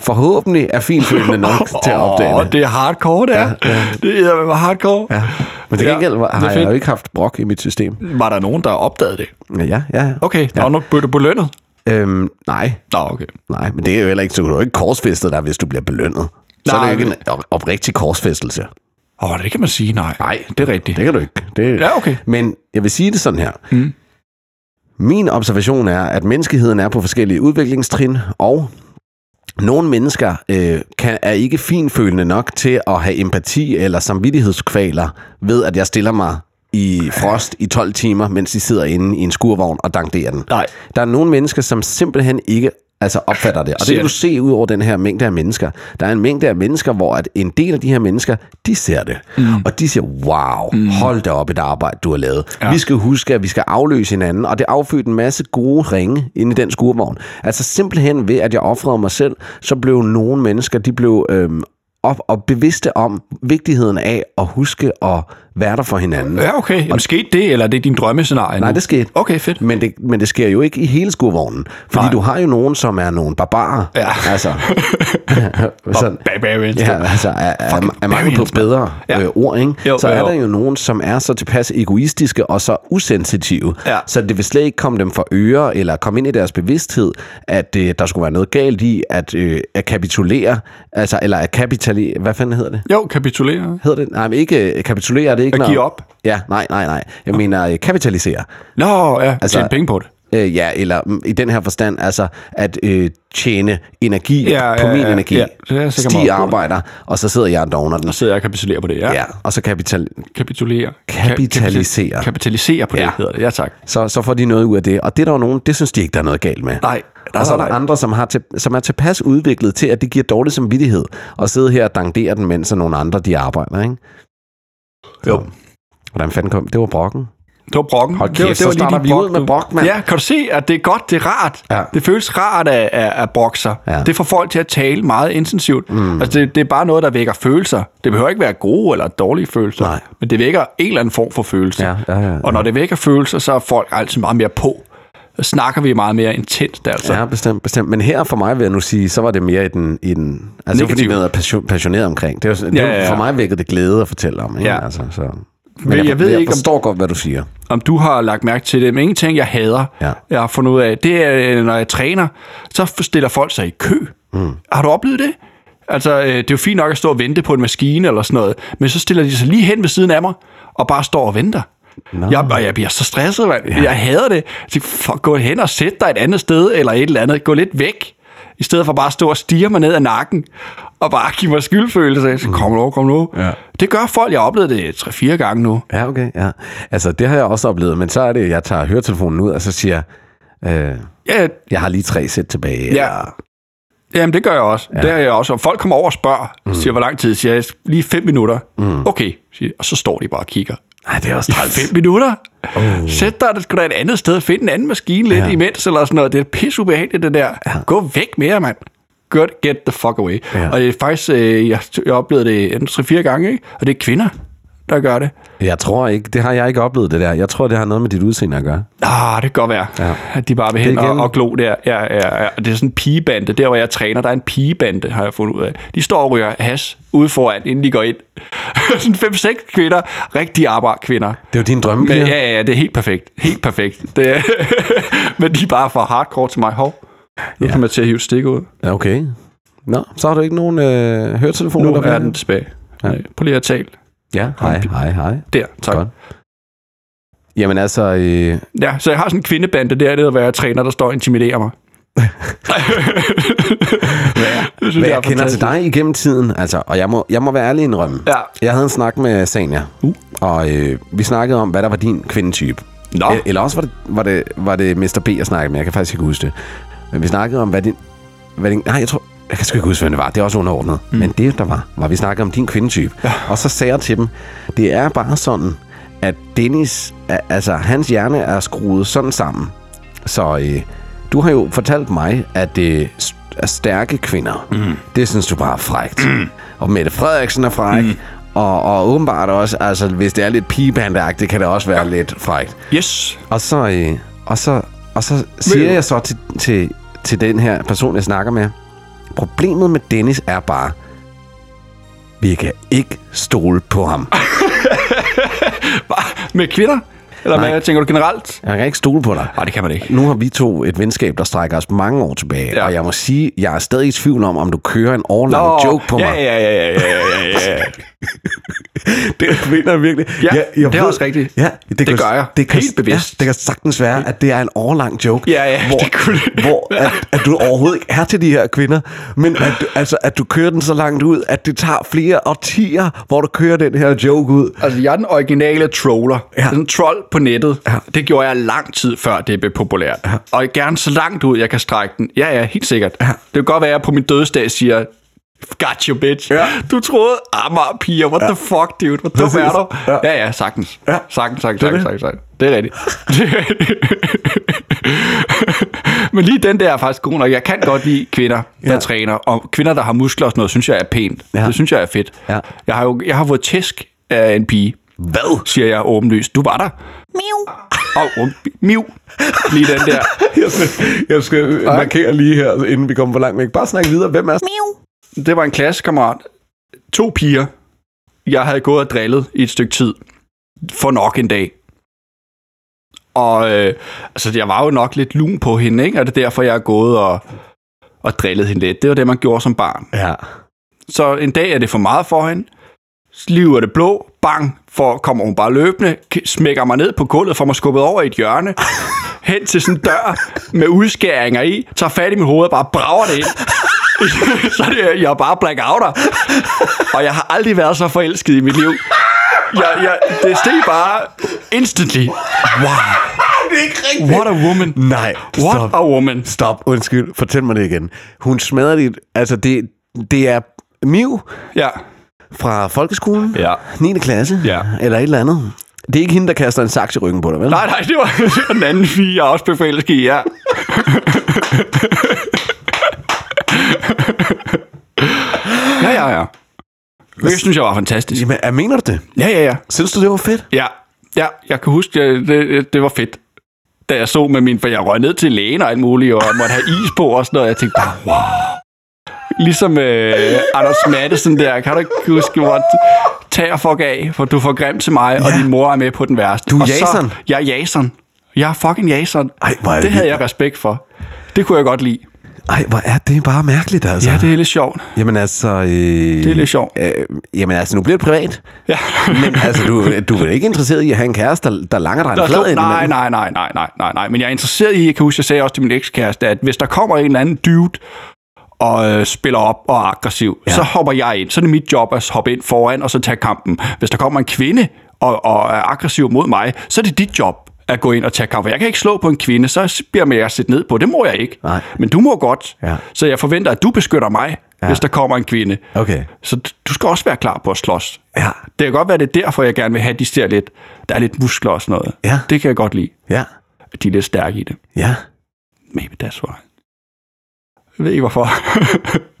S3: forhåbentlig er finfølende nok til at opdage
S1: Åh,
S3: det.
S1: det er hardcore, det er. Ja, ja. Det er med hardcore. Ja.
S3: Men til
S1: Ja,
S3: gengæld var-
S1: det er
S3: har jeg
S1: fedt.
S3: jo ikke haft brok i mit system.
S1: Var der nogen, der opdagede det?
S3: Ja, ja. ja.
S1: Okay, der ja. var nok bøtte på lønnet.
S3: Øhm, nej,
S1: Nå, okay.
S3: nej, men det er jo heller ikke, så du er jo ikke korsfæstet dig, hvis du bliver belønnet. Så er det
S1: Nej,
S3: jo ikke
S1: men-
S3: en op- oprigtig korsfæstelse.
S1: Åh, det kan man sige, nej.
S3: Nej,
S1: det er rigtigt.
S3: Det kan du ikke. Det...
S1: Ja, okay.
S3: Men jeg vil sige det sådan her. Mm. Min observation er, at menneskeheden er på forskellige udviklingstrin, og nogle mennesker øh, kan, er ikke finfølende nok til at have empati eller samvittighedskvaler ved, at jeg stiller mig i frost i 12 timer, mens de sidder inde i en skurvogn og dankderer den.
S1: Nej.
S3: Der er nogle mennesker, som simpelthen ikke altså opfatter det. Og det
S1: Ser
S3: kan du
S1: det.
S3: se ud over den her mængde af mennesker. Der er en mængde af mennesker, hvor at en del af de her mennesker, de ser det. Mm. Og de siger, wow, mm. hold da op et arbejde, du har lavet. Ja. Vi skal huske, at vi skal afløse hinanden. Og det affødte en masse gode ringe inde i den skurvogn. Altså simpelthen ved, at jeg offrede mig selv, så blev nogle mennesker, de blev øhm, op og bevidste om vigtigheden af at huske at være der for hinanden.
S1: Ja, okay. Jamen, skete det, eller er det din drømmescenarie
S3: Nej,
S1: nu?
S3: det skete.
S1: Okay, fedt.
S3: Men det, men det sker jo ikke i hele skovvognen. Fordi Nej.
S1: Nej.
S3: du har jo nogen, som er nogle barbarer.
S1: Ja.
S3: Altså, sådan,
S1: Barbarians.
S3: ja, altså er, er, er mange på
S1: barbarians,
S3: bedre ja.
S1: Ja.
S3: øh, ord, ikke?
S1: Jo,
S3: så
S1: jo,
S3: er
S1: jo.
S3: der jo nogen, som er så tilpas egoistiske og så usensitive,
S1: Ja.
S3: så det vil slet ikke komme dem for øre eller komme ind i deres bevidsthed, at øh, der skulle være noget galt i at, øh, at kapitulere, altså, eller at kapitalere, hvad fanden hedder det?
S1: Jo, kapitulere.
S3: Hedder det? Nej, men ikke øh, kapitulere, er det ikke
S1: At
S3: når-
S1: give op?
S3: Ja, nej, nej, nej. Jeg mener øh, kapitalisere.
S1: Nå, ja,
S3: Altså-
S1: altså, tjene penge på det.
S3: Øh, ja, eller mm, i den her forstand, altså at øh, tjene energi
S1: Ja,
S3: ja, på
S1: ja,
S3: min
S1: ja,
S3: energi.
S1: ja. Det er jeg sikker meget
S3: Stig
S1: god.
S3: arbejder, og så sidder jeg og dogner den.
S1: Og sidder jeg og kapitulerer på det, ja.
S3: Ja, og så kapital...
S1: Kapitulere.
S3: Kapitalisere.
S1: Kapitalisere på det,
S3: Ja.
S1: ja. hedder det. Ja, tak.
S3: Så, så får de noget ud af det. Og det er der jo nogen, det synes de ikke, der er noget galt med.
S1: Nej, nej,
S3: Og så er der
S1: nej, nej.
S3: andre, som, har til, som er tilpas udviklet til, at det giver dårlig samvittighed at sidde her og dangdere den, mens at nogle andre de arbejder, ikke?
S1: Jo.
S3: Hvordan fanden kom det? var brokken.
S1: Det var brokken.
S3: Hold kæft,
S1: det var, det
S3: så
S1: var lige
S3: starter
S1: din
S3: vi ud
S1: brok,
S3: med
S1: du.
S3: brok, mand.
S1: Ja, kan du se, at det er godt, det er rart.
S3: Ja.
S1: Det føles rart at, at, at brokke sig.
S3: Ja.
S1: Det får folk til at tale meget intensivt. Mm. Altså, det, det er bare noget, der vækker følelser. Det behøver ikke være gode eller dårlige følelser,
S3: Nej.
S1: men det vækker en eller anden form for følelse.
S3: Ja, ja, ja.
S1: Og når det vækker følelser, så er folk altid meget mere på. Så snakker vi meget mere intenst, altså.
S3: Ja, bestemt, bestemt. Men her for mig vil jeg nu sige, så var det mere i den... I den altså fordi
S1: Negativ.
S3: jeg er passion, passioneret omkring. Det var, sådan- det
S1: Ja,
S3: var,
S1: ja, ja.
S3: for mig vækkede det glæde at fortælle om. Ikke?
S1: Ja.
S3: Altså, så. Men,
S1: Men jeg ved
S3: jeg
S1: ikke, om-
S3: forstår godt, hvad du siger.
S1: om du har lagt mærke til det, men en ting, jeg hader,
S3: Ja.
S1: jeg har fundet ud af, det er, øh, når jeg træner, så stiller folk sig i kø. Mm. Har du oplevet det? Altså, øh, det er jo fint nok at stå og vente på en maskine eller sådan noget, men så stiller de sig lige hen ved siden af mig, og bare står og venter. No. Jeg, og jeg bliver så stresset, mand. Ja. Jeg hader det. Jeg tænker, fuck, gå hen og sæt dig et andet sted, eller et eller andet. Gå lidt væk, i stedet for bare at stå og stige mig ned ad nakken, og bare give mig skyldfølelse. Så, kom nu, kom nu.
S3: Ja.
S1: Det gør folk. Jeg har oplevet det 3-4 gange nu.
S3: Ja, okay. Ja. Altså, det har jeg også oplevet, men så er det, at jeg tager høretelefonen ud, og så siger jeg, øh,
S1: Ja,
S3: jeg har lige tre sæt tilbage.
S1: Ja. Jamen, det gør jeg også. Ja. Det har jeg også. Og folk kommer over og spørger, mm. siger, hvor lang tid? Siger jeg, lige fem minutter. Mm. Okay, siger jeg. og så står de bare og kigger.
S3: Nej, det er også træls.
S1: Fem minutter? Oh. Sæt dig sgu da et andet sted. Find en anden maskine lidt
S3: Ja.
S1: ja. imens, eller sådan noget. Det er pisse ubehageligt, det der. Ja. Gå væk med jer, mand. Good, get the fuck away.
S3: Ja.
S1: Ja. Og det er faktisk, øh, jeg, jeg oplevede det en 3-4 gange, ikke? og det er kvinder, der gør det.
S3: Jeg tror ikke, det har jeg ikke oplevet det der. Jeg tror, det har noget med dit udseende at gøre.
S1: Ah, det kan godt være,
S3: Ja.
S1: ja. at de bare vil hen
S3: Det er igen-
S1: og, og glo der. Ja, ja, ja. Det er sådan en pigebande. Der, hvor jeg træner, der er en pigebande, har jeg fundet ud af. De står og ryger has ude foran, inden de går ind. sådan fem-seks kvinder, rigtige arbejderkvinder.
S3: Det er jo din drømmepiger.
S1: Men, ja, ja, det er helt perfekt. Helt perfekt. Det, men de er bare for hardcore til mig. Hov, nu
S3: Ja.
S1: ja. kommer jeg til at hive et stik ud.
S3: Ja, Okay. Nå, så har du ikke nogen øh,
S1: Nu
S3: høretelefoner? der
S1: er
S3: virker?
S1: den tilbage.
S3: Ja.
S1: Ja. Prøv lige at tale.
S3: Ja, hej, hej, hej.
S1: Der, tak.
S3: Godt. Jamen altså, øh,
S1: Ja, så jeg har sådan en kvindebande, der er det, hvor jeg træner, der står og intimiderer mig. hvad,
S3: hvad jeg kender til dig igennem tiden, altså, og jeg må, jeg må være ærlig indrømme.
S1: Ja.
S3: Jeg havde en snak med Sanja,
S1: Uh.
S3: og øh, vi snakkede om, hvad der var din kvindetype.
S1: Nå.
S3: E- Eller også var det, var, det, var det Mr. B, jeg snakkede med. Jeg kan faktisk ikke huske det. Men vi snakkede om, hvad din... Hvad din nej, jeg tror... Jeg kan sgu ikke huske, hvem det var. Det er også underordnet. Mm. Men det, der var, var, vi snakkede om din kvindetype. Ja. Og så sagde jeg til dem, det er bare sådan, at Dennis, a- altså hans hjerne er skruet sådan sammen. Så øh, du har jo fortalt mig, at øh, s- at stærke kvinder, mm. det synes du bare er frægt. Mm. Og Mette Frederiksen er fræk. Mm. Og, og åbenbart også, altså hvis det er lidt pigebandagtigt, kan det også være lidt frægt.
S1: Yes.
S3: Og så, øh, og så, og så siger
S1: Men-
S3: jeg så til, til, til den her person, jeg snakker med, problemet med Dennis er bare, vi kan ikke stole på ham.
S1: Med kvinder? Eller
S3: Nej.
S1: hvad tænker du generelt?
S3: Jeg kan ikke stole på dig.
S1: Nej, det kan man ikke.
S3: Nu har vi to et venskab, der strækker os mange år tilbage, ja.
S1: Ja.
S3: og jeg må sige, jeg er stadig i tvivl om, om du kører en årlang
S1: Nå,
S3: joke på
S1: ja,
S3: mig.
S1: Ja, ja, ja, ja, ja, ja, ja.
S3: Det vinder virkelig.
S1: Ja, det er også rigtigt.
S3: Ja,
S1: Det gør jeg.
S3: Det kan,
S1: Helt bevidst.
S3: Ja, det kan sagtens være, at det er en årlang joke.
S1: Ja, ja,
S3: hvor,
S1: det kunne det.
S3: hvor at, at du overhovedet ikke er til de her kvinder, men at, du- altså, at du kører den så langt ud, at det tager flere årtier, hvor du kører den her joke ud.
S1: Altså, jeg er den originale troller.
S3: Ja.
S1: Ja. Sådan en trold på nettet. Ja. Det gjorde jeg lang tid før, det blev populært. Ja. Og gerne så langt ud, jeg kan strække den. Ja, ja, helt sikkert. Ja. Det kan godt være, at jeg på min dødsdag siger, got you, bitch.
S3: Ja.
S1: Du troede, Amager piger, what ja. the fuck, dude, hvor dum
S3: Præcis.
S1: er du?
S3: Ja.
S1: Ja, ja, ja sagtens.
S3: Ja.
S1: Ja. Sagtens, sagtens,
S3: er
S1: sagtens, sagtens, sagtens. Det er rigtigt. Det er rigtigt. Men lige den der er faktisk god nok. Jeg kan godt lide kvinder, der
S3: Ja.
S1: ja. træner. Og kvinder, der har muskler og sådan noget, synes jeg er pænt.
S3: Ja.
S1: Ja. Det synes jeg er fedt.
S3: Ja.
S1: Jeg har jo jeg har fået tæsk af en pige. Hvad? Siger jeg åbenlyst. Du var der. Miu. Og um, miu. Lige den der.
S3: Jeg skal, jeg skal markere lige her, inden vi kommer for langt væk. Bare snak videre. Hvem er
S1: Det var en klassekammerat. To piger. Jeg havde gået og drillet i et stykke tid. For nok en dag. Og øh, altså, jeg var jo nok lidt lun på hende, ikke? Og det er derfor, jeg er gået og, og drillet hende lidt. Det var det, man gjorde som barn.
S3: Ja.
S1: Så en dag er det for meget for hende. Sliver det blå. Bang. For kommer hun bare løbende. k- Smækker mig ned på gulvet. Får mig skubbet over i et hjørne. hen til sådan en dør med udskæringer i, tager fat i mit hoved og bare brager det ind. så er det, jeg er bare blackouter. Og jeg har aldrig været så forelsket i mit liv. Jeg, jeg, det steg bare instantly. Wow,
S2: Det er ikke rigtigt.
S1: what a woman.
S3: Nej,
S1: What
S3: stop.
S1: a woman.
S3: Stop, undskyld. Fortæl mig det igen. Hun smadrer dit... Altså, det, det er Miv
S1: Ja.
S3: fra folkeskolen.
S1: Ja.
S3: 9. klasse.
S1: Ja.
S3: Eller et eller andet. Det er ikke hende, der kaster en saks i ryggen på dig, vel?
S1: Nej, nej, det var, det var den anden pige, jeg også blev forelsket i, ja. ja, ja, ja. Det synes jeg var fantastisk.
S3: Jamen, er- mener du det?
S1: Ja, ja, ja.
S3: Synes du, det var fedt?
S1: Ja, ja jeg kan huske, det, det, det var fedt. Da jeg så med min... For jeg røg ned til lægen og alt muligt, og måtte have is på og sådan noget. Jeg tænkte bare, wow. Ligesom øh, Anders Madsen der. Kan du ikke huske, hvor t- tag og fuck af, for du er for grim til mig, ja. og
S3: Ja.
S1: din mor er med på den værste.
S3: Du er
S1: Og så-
S3: Jason.
S1: Jeg er Jason. Jeg er fucking Jason.
S3: Ej, hvor er det
S1: det havde
S3: vildt.
S1: jeg respekt for. Det kunne jeg godt lide.
S3: Ej, hvor er det bare mærkeligt, altså.
S1: Ja, det er lidt sjovt.
S3: Jamen altså... Øh, det
S1: er lidt sjovt.
S3: Øh, jamen altså, nu bliver det privat.
S1: Ja.
S3: Men altså, du, du er vel ikke interesseret i at have en kæreste, der, der langer dig en
S1: Der
S3: flad
S1: slår,
S3: ind
S1: nej,
S3: imellem?
S1: nej, nej, nej, nej, nej, nej. Men jeg er interesseret i, jeg kan huske, jeg sagde også til min ekskæreste, at hvis der kommer en eller anden dude og øh, spiller op og er aggressiv, ja. så hopper jeg ind. Så er det mit job at hoppe ind foran og så tage kampen. Hvis der kommer en kvinde og, og er aggressiv mod mig, så er det dit job at gå ind og tage kampen. Jeg kan ikke slå på en kvinde, så bliver jeg sætte ned på. Det må jeg ikke.
S3: Nej.
S1: Men du må godt.
S3: Ja.
S1: Så jeg forventer, at du beskytter mig, ja. hvis der kommer en kvinde.
S3: Okay.
S1: Så d- du skal også være klar på at slås.
S3: Ja.
S1: Det kan godt være, det er derfor, jeg gerne vil have, at de ser lidt, der er lidt muskler og sådan noget.
S3: Ja.
S1: Det kan jeg godt lide,
S3: Ja.
S1: at de er lidt stærke i det.
S3: Ja.
S1: Maybe that's why. Jeg ved ikke, hvorfor.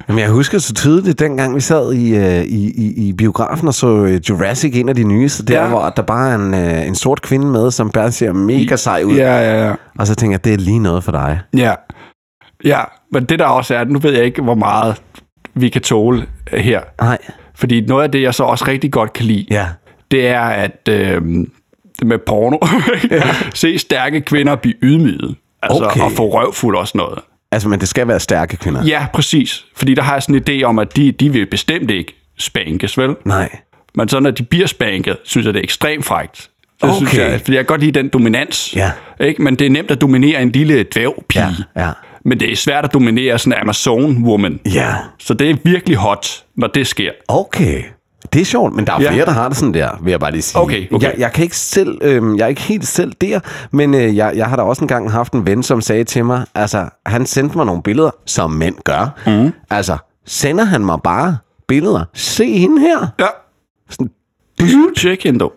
S3: Jamen, jeg husker så tydeligt, dengang vi sad i, øh, i, i, i biografen og så øh, Jurassic, en af de nyeste, der
S1: Ja.
S3: ja. hvor der bare er en, øh, en sort kvinde med, som bare ser mega sej ud.
S1: ja, ja, ja.
S3: Og så tænker jeg, det er lige noget for dig.
S1: Ja. Ja, men det der også er, nu ved jeg ikke, hvor meget vi kan tåle øh, her.
S3: Nej.
S1: Fordi noget af det, jeg så også rigtig godt kan lide,
S3: Ja.
S1: det er at øh, med porno, ja. se stærke kvinder blive ydmyget. Altså,
S3: Okay.
S1: og få røvfuld og sådan noget.
S3: Altså, men det skal være stærke kvinder.
S1: Ja, præcis. Fordi der har jeg sådan en idé om, at de, de vil bestemt ikke spankes, vel?
S3: Nej.
S1: Men så når de bliver spanket, synes jeg, det er ekstremt frægt. Det okay. synes
S3: Okay.
S1: jeg, fordi jeg kan godt lide den dominans.
S3: Ja.
S1: Ikke? Men det er nemt at dominere en lille dvævpige.
S3: Ja.
S1: Men det er svært at dominere sådan en Amazon-woman.
S3: Ja.
S1: Så det er virkelig hot, når det sker.
S3: Okay. Det er sjovt, men der er
S1: Ja.
S3: flere, der har det sådan der, vil jeg bare lige sige.
S1: Okay, okay.
S3: Jeg, jeg, kan ikke selv, øh, jeg er ikke helt selv der, men øh, jeg, jeg har da også engang haft en ven, som sagde til mig, altså, han sendte mig nogle billeder, som mænd gør. Mm. Altså, sender han mig bare billeder? Se hende her.
S1: Ja. Sådan, check hende dog.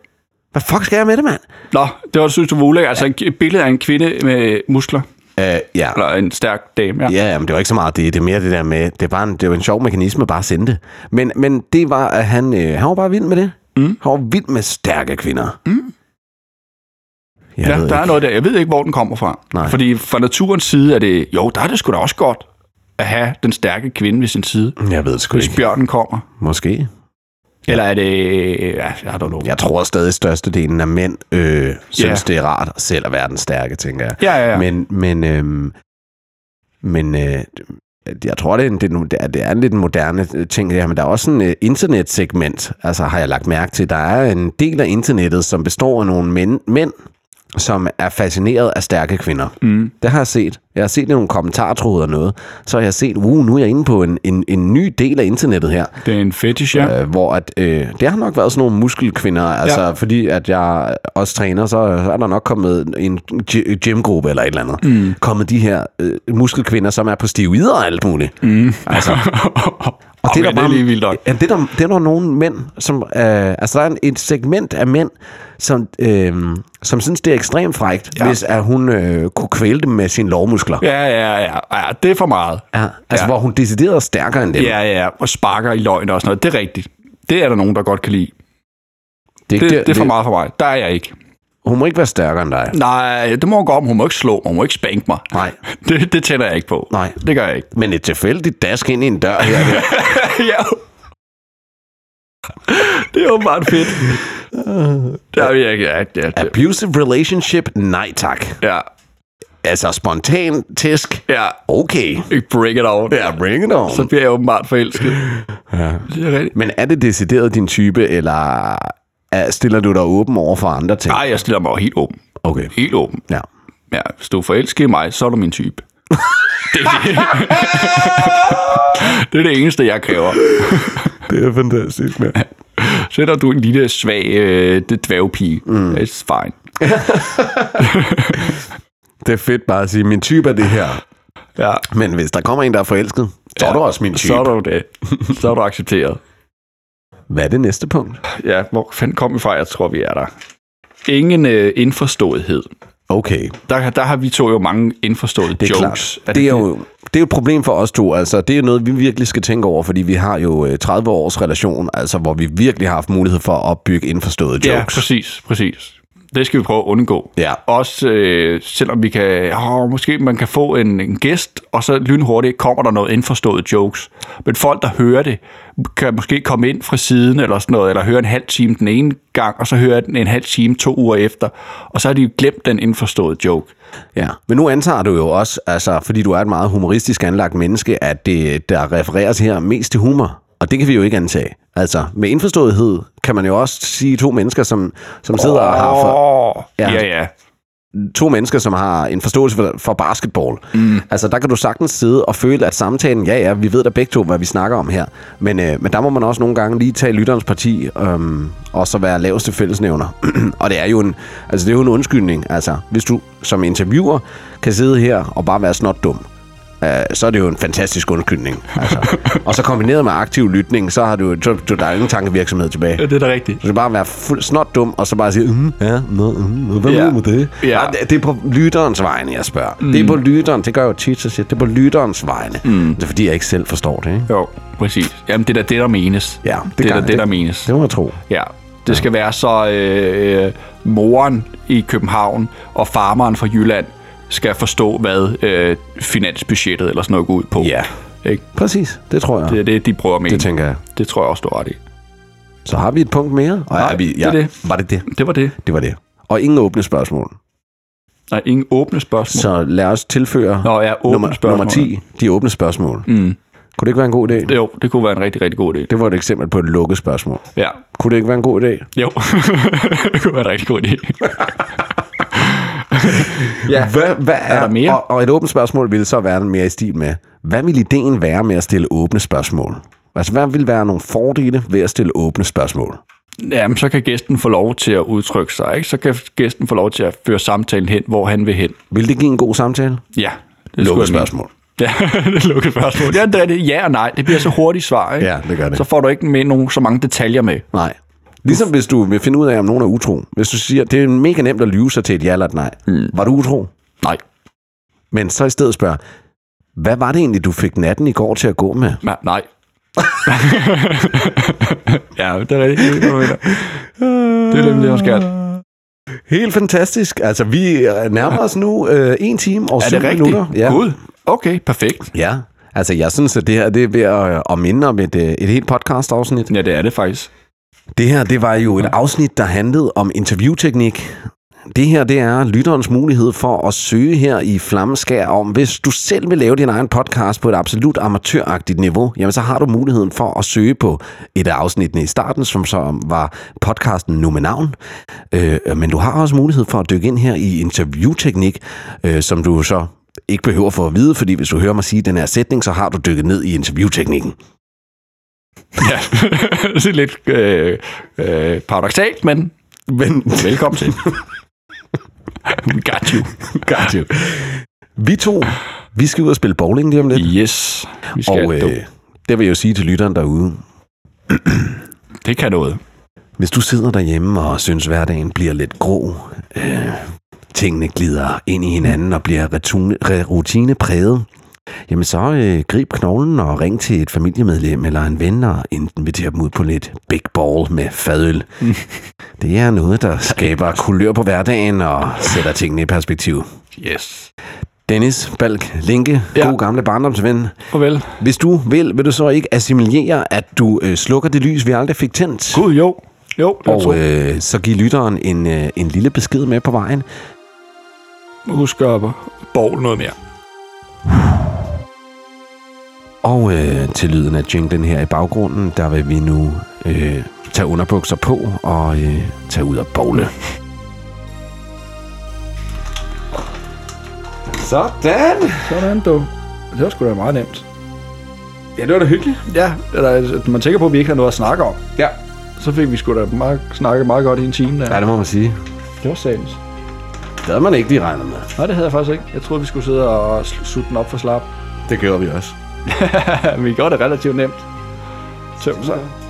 S3: Hvad fuck skal jeg med det, mand?
S1: Nå, det var, synes du, var ulækkert. Altså en- et billede af en kvinde med muskler.
S3: Øh, ja.
S1: Eller en stærk dame, ja.
S3: Ja, ja, men det var ikke så meget det. Det er mere det der med, det er bare en, det er jo en sjov mekanisme at bare sende det. Men, men det var, at han, øh, han var bare vild med det. Mm. Han var vild med stærke kvinder. Mm. Jeg
S1: Ja, der
S3: ved
S1: er
S3: ikke.
S1: noget der. Jeg ved ikke, hvor den kommer fra.
S3: Nej.
S1: Fordi fra naturens side er det, jo, der er det sgu da også godt at have den stærke kvinde ved sin side,
S3: Jeg ved det sgu
S1: hvis
S3: ikke.
S1: bjørnen kommer.
S3: Måske.
S1: Eller er det... øh, Ja, jeg har dog noget.
S3: Jeg tror stadig, at størstedelen af mænd øh, synes,
S1: Ja.
S3: det er rart selv at være den stærke, tænker jeg.
S1: Ja, ja, ja. Men,
S3: Men, men, øh, men øh, jeg tror, det er, en, det, er, en- det er- det er en lidt en moderne øh, ting, det her, men der er også en øh, internetsegment, altså har jeg lagt mærke til. Der er en del af internettet, som består af nogle mænd, mænd som er fascineret af stærke kvinder.
S1: Mm.
S3: Det har jeg set. Jeg har set i nogle kommentartråde og noget. Så har jeg set, uh, nu er jeg inde på en, en, en ny del af internettet her.
S1: det er en fetish, ja.
S3: Øh, hvor at, øh, det har nok været sådan nogle muskelkvinder, altså ja. fordi at jeg også træner, så er der nok kommet en gy- gymgruppe eller et eller andet, mm. kommet de her øh, muskelkvinder, som er på stivider og alt muligt. Mm. Altså,
S1: Øh, og det, er det er lige vildt nok.
S3: Ja, det, er der, det er der nogle mænd, som, øh, altså der er en, et segment af mænd, som, øh, som synes, det er ekstremt frægt,
S1: Ja.
S3: ja. hvis at hun øh, kunne kvæle dem med sine lovmuskler.
S1: Ja, ja, ja, ja. Det er for meget.
S3: Ja, altså
S1: Ja.
S3: ja. hvor hun decideret er stærkere end dem.
S1: Ja, ja, og sparker i løgn og sådan noget. Det er rigtigt. Det er der nogen, der godt kan lide.
S3: ikke
S1: Det, det er for meget for mig. Der er jeg ikke.
S3: Hun må ikke være stærkere end dig.
S1: Nej, det må hun godt. Hun må ikke slå mig. Hun må ikke spanke mig.
S3: Nej.
S1: Det, det tænder jeg ikke på.
S3: Nej.
S1: Det gør jeg ikke.
S3: Men et tilfældigt dask ind i en dør her. Det,
S1: ja. Det er åbenbart fedt. Der er virkelig... Ja, ja, det-
S3: Abusive relationship? Nej tak.
S1: ja,
S3: Altså spontan tæsk?
S1: ja.
S3: Okay.
S1: Ikke break it out.
S3: Ja, bring it on.
S1: Så bliver jeg åbenbart forelsket.
S3: Ja.
S1: Det er rigtigt.
S3: Men er det decideret din type, eller er- stiller du dig åben over for andre ting?
S1: Nej, jeg stiller mig jo helt åben.
S3: Okay.
S1: Helt åben.
S3: Ja.
S1: ja, hvis du er forelsket i mig, så er du min type. det, er det. det er det eneste, jeg kræver.
S3: Det er fantastisk, mand.
S1: Sætter du en lille svag øh, det dværgpige. Mm. It's fine.
S3: Det er fedt bare at sige, min type er det her.
S1: Ja,
S3: Men hvis der kommer en, der er forelsket, så er
S1: Ja.
S3: du også min type.
S1: så er du det. Så er du accepteret.
S3: Hvad er det næste punkt?
S1: Ja, hvor fanden kom vi fra? Jeg tror, vi er der. Ingen øh, indforståethed.
S3: Okay,
S1: Der, der har vi to jo mange indforståede
S3: det er
S1: jokes.
S3: klart. Det er, jo, det er jo et problem for os to. Altså, det er jo noget, vi virkelig skal tænke over, fordi vi har jo øh, 30 års relation, altså, hvor vi virkelig har haft mulighed for at opbygge indforståede
S1: Ja,
S3: jokes.
S1: præcis, præcis. Det skal vi prøve at undgå.
S3: Ja.
S1: Også øh, selvom vi kan, åh, måske man kan få en, en gæst, og så lynhurtigt kommer der noget indforstået jokes. Men folk, der hører det, kan måske komme ind fra siden eller sådan noget, eller høre en halv time den ene gang, og så høre den en halv time to uger efter, og så har de jo glemt den indforståede joke.
S3: Ja. Men nu antager du jo også, altså, fordi du er et meget humoristisk anlagt menneske, at det, der refereres her mest til humor. Og det kan vi jo ikke antage. Altså, med indforståethed kan man jo også sige to mennesker, som, som sidder og har for,
S1: Åh,
S3: Ja.
S1: ja. ja, ja.
S3: to mennesker, som har en forståelse for, for basketball. Mm. Altså, der kan du sagtens sidde og føle, at samtalen, ja, ja, vi ved da begge to, hvad vi snakker om her. Men, øh, men der må man også nogle gange lige tage lytterens parti, øhm, og så være laveste fællesnævner. og det er jo en, altså, det er jo en undskyldning. Altså, hvis du som interviewer kan sidde her og bare være snot dum, øh, så er det jo en fantastisk undskyldning. Altså. og så kombineret med aktiv lytning, så har du, du, du der er ingen tankevirksomhed tilbage.
S1: Det er da rigtigt.
S3: Du skal bare være fuld snot dum, og så bare sige, mm, ja, nå, mm, nå, hvad
S1: Ja.
S3: mener du med det?
S1: Ja.
S3: Nej, det- det er på lytterens vegne, jeg spørger. Mm. Det er på lytteren, det gør jeg jo tit, så siger jeg, det er på lytterens vegne. Mm. Det er fordi, jeg ikke selv forstår det, ikke?
S1: Jo, præcis. Jamen, det er da det, der menes.
S3: Ja,
S1: det, det er
S3: gør-
S1: da det, der menes.
S3: Det må jeg tro.
S1: Ja, det skal være så øh, øh, moren i København og farmeren fra Jylland skal forstå, hvad øh, finansbudgettet eller sådan noget går ud på.
S3: Ja.
S1: Ikke?
S3: Præcis, det tror jeg.
S1: Det
S3: Det,
S1: er det, de prøver at mene.
S3: det tænker jeg.
S1: det tror jeg også, du har ret i.
S3: Så har vi et punkt mere? Og
S1: Nej,
S3: er vi,
S1: det er det.
S3: Var det det?
S1: Det var det.
S3: Det var det. Og ingen åbne spørgsmål.
S1: Nej, ingen åbne spørgsmål.
S3: Så lad os tilføre
S1: Nå, ja, åbne
S3: nummer,
S1: spørgsmål.
S3: nummer 10, de åbne spørgsmål. Mm. Kunne det ikke være en god idé? Det.
S1: Jo, det kunne være en rigtig, rigtig god idé.
S3: det var et eksempel på et lukket spørgsmål.
S1: Ja,
S3: Kunne det ikke være en god idé?
S1: jo. det kunne være en rigtig god idé.
S3: Ja. Hvad, hvad er,
S1: der mere?
S3: Og, og et åbent spørgsmål ville så være mere i stil med, hvad vil ideen være med at stille åbne spørgsmål? Altså, hvad vil være nogle fordele ved at stille åbne spørgsmål?
S1: Jamen, så kan gæsten få lov til at udtrykke sig, ikke? Så kan gæsten få lov til at føre samtalen hen, hvor han vil hen.
S3: Vil det give en god samtale?
S1: Ja, det skulle
S3: Lukket
S1: jeg mene.
S3: spørgsmål.
S1: Ja, det er lukket spørgsmål. Ja, det er det. Ja og nej. Det bliver så hurtigt svar, ikke?
S3: Ja, det gør det.
S1: Så får du ikke med nogen, så mange detaljer med.
S3: Nej. Ligesom hvis du vil finde ud af, om nogen er utro. Hvis du siger, det er mega nemt at lyve sig til et ja eller et nej. Mm. Var du utro?
S1: Nej.
S3: Men så i stedet spørge, hvad var det egentlig, du fik natten i går til at gå med?
S1: Nej. nej. ja, det er rigtigt. Det er, det, det er nemlig det, man skal.
S3: Helt fantastisk. Altså, vi øh, nærmer os nu øh, en time og
S1: Er
S3: syv
S1: det rigtigt?
S3: minutter.
S1: Gud. Okay, perfekt.
S3: Ja, altså jeg synes, at det her det er ved at, at minde om et, øh, et helt podcast-afsnit.
S1: Ja, det er det faktisk.
S3: Det her, det var jo et afsnit, der handlede om interviewteknik. Det her, det er lytterens mulighed for at søge her i Flammeskær om, hvis du selv vil lave din egen podcast på et absolut amatøragtigt niveau, jamen så har du muligheden for at søge på et af afsnittene i starten, som så var podcasten Nu med navn. Øh, men du har også mulighed for at dykke ind her i interviewteknik, øh, som du så ikke behøver for at vide, fordi hvis du hører mig sige den her sætning, så har du dykket ned i interviewteknikken.
S1: Ja, det er lidt øh, øh, paradoxalt, men
S3: Men
S1: velkommen til. We got you.
S3: Got you. Vi to, vi skal ud og spille bowling lige om lidt.
S1: Yes. Vi skal
S3: Og
S1: dog.
S3: øh, det vil jeg jo sige til lytteren derude.
S1: Det kan noget.
S3: Hvis du sidder derhjemme og synes, hverdagen bliver lidt grå, øh, tingene glider ind i hinanden og bliver retune- re- rutinepræget, jamen så øh, grib knoglen og ring til et familiemedlem eller en ven og inviter dem ud på lidt big ball med fadøl. Det er noget, der skaber kulør på hverdagen og sætter tingene i perspektiv.
S1: Yes.
S3: Dennis Balk Linke, ja.
S1: Ja.
S3: god gamle barndomsven.
S1: Farvel.
S3: Hvis du vil, vil du så ikke assimilere, at du øh, slukker det lys, vi aldrig fik tændt?
S1: Gud, jo. Jo, det tror
S3: Og øh, så giv lytteren en, øh, en lille besked med på vejen.
S1: Husk at bowl noget mere.
S3: Og øh, til lyden af jinglen her i baggrunden, der vil vi nu øh, tage underbukser på og øh, tage ud og bowle. Sådan.
S1: Sådan, du. Det var sgu da meget nemt.
S3: Ja, det var da hyggeligt.
S1: Ja, eller altså, man tænker på, at vi ikke har noget at snakke om.
S3: Ja.
S1: Så fik vi sgu da meget, snakket meget godt i en time. Der.
S3: Ja, det må man sige.
S1: Det var sagens.
S3: Det havde man ikke lige regnet med.
S1: Nej, det havde jeg faktisk ikke. Jeg troede, vi skulle sidde og sl- sutte den op for slap.
S3: Det gjorde vi også.
S1: Ja, vi gjorde det relativt nemt. Tøm sig.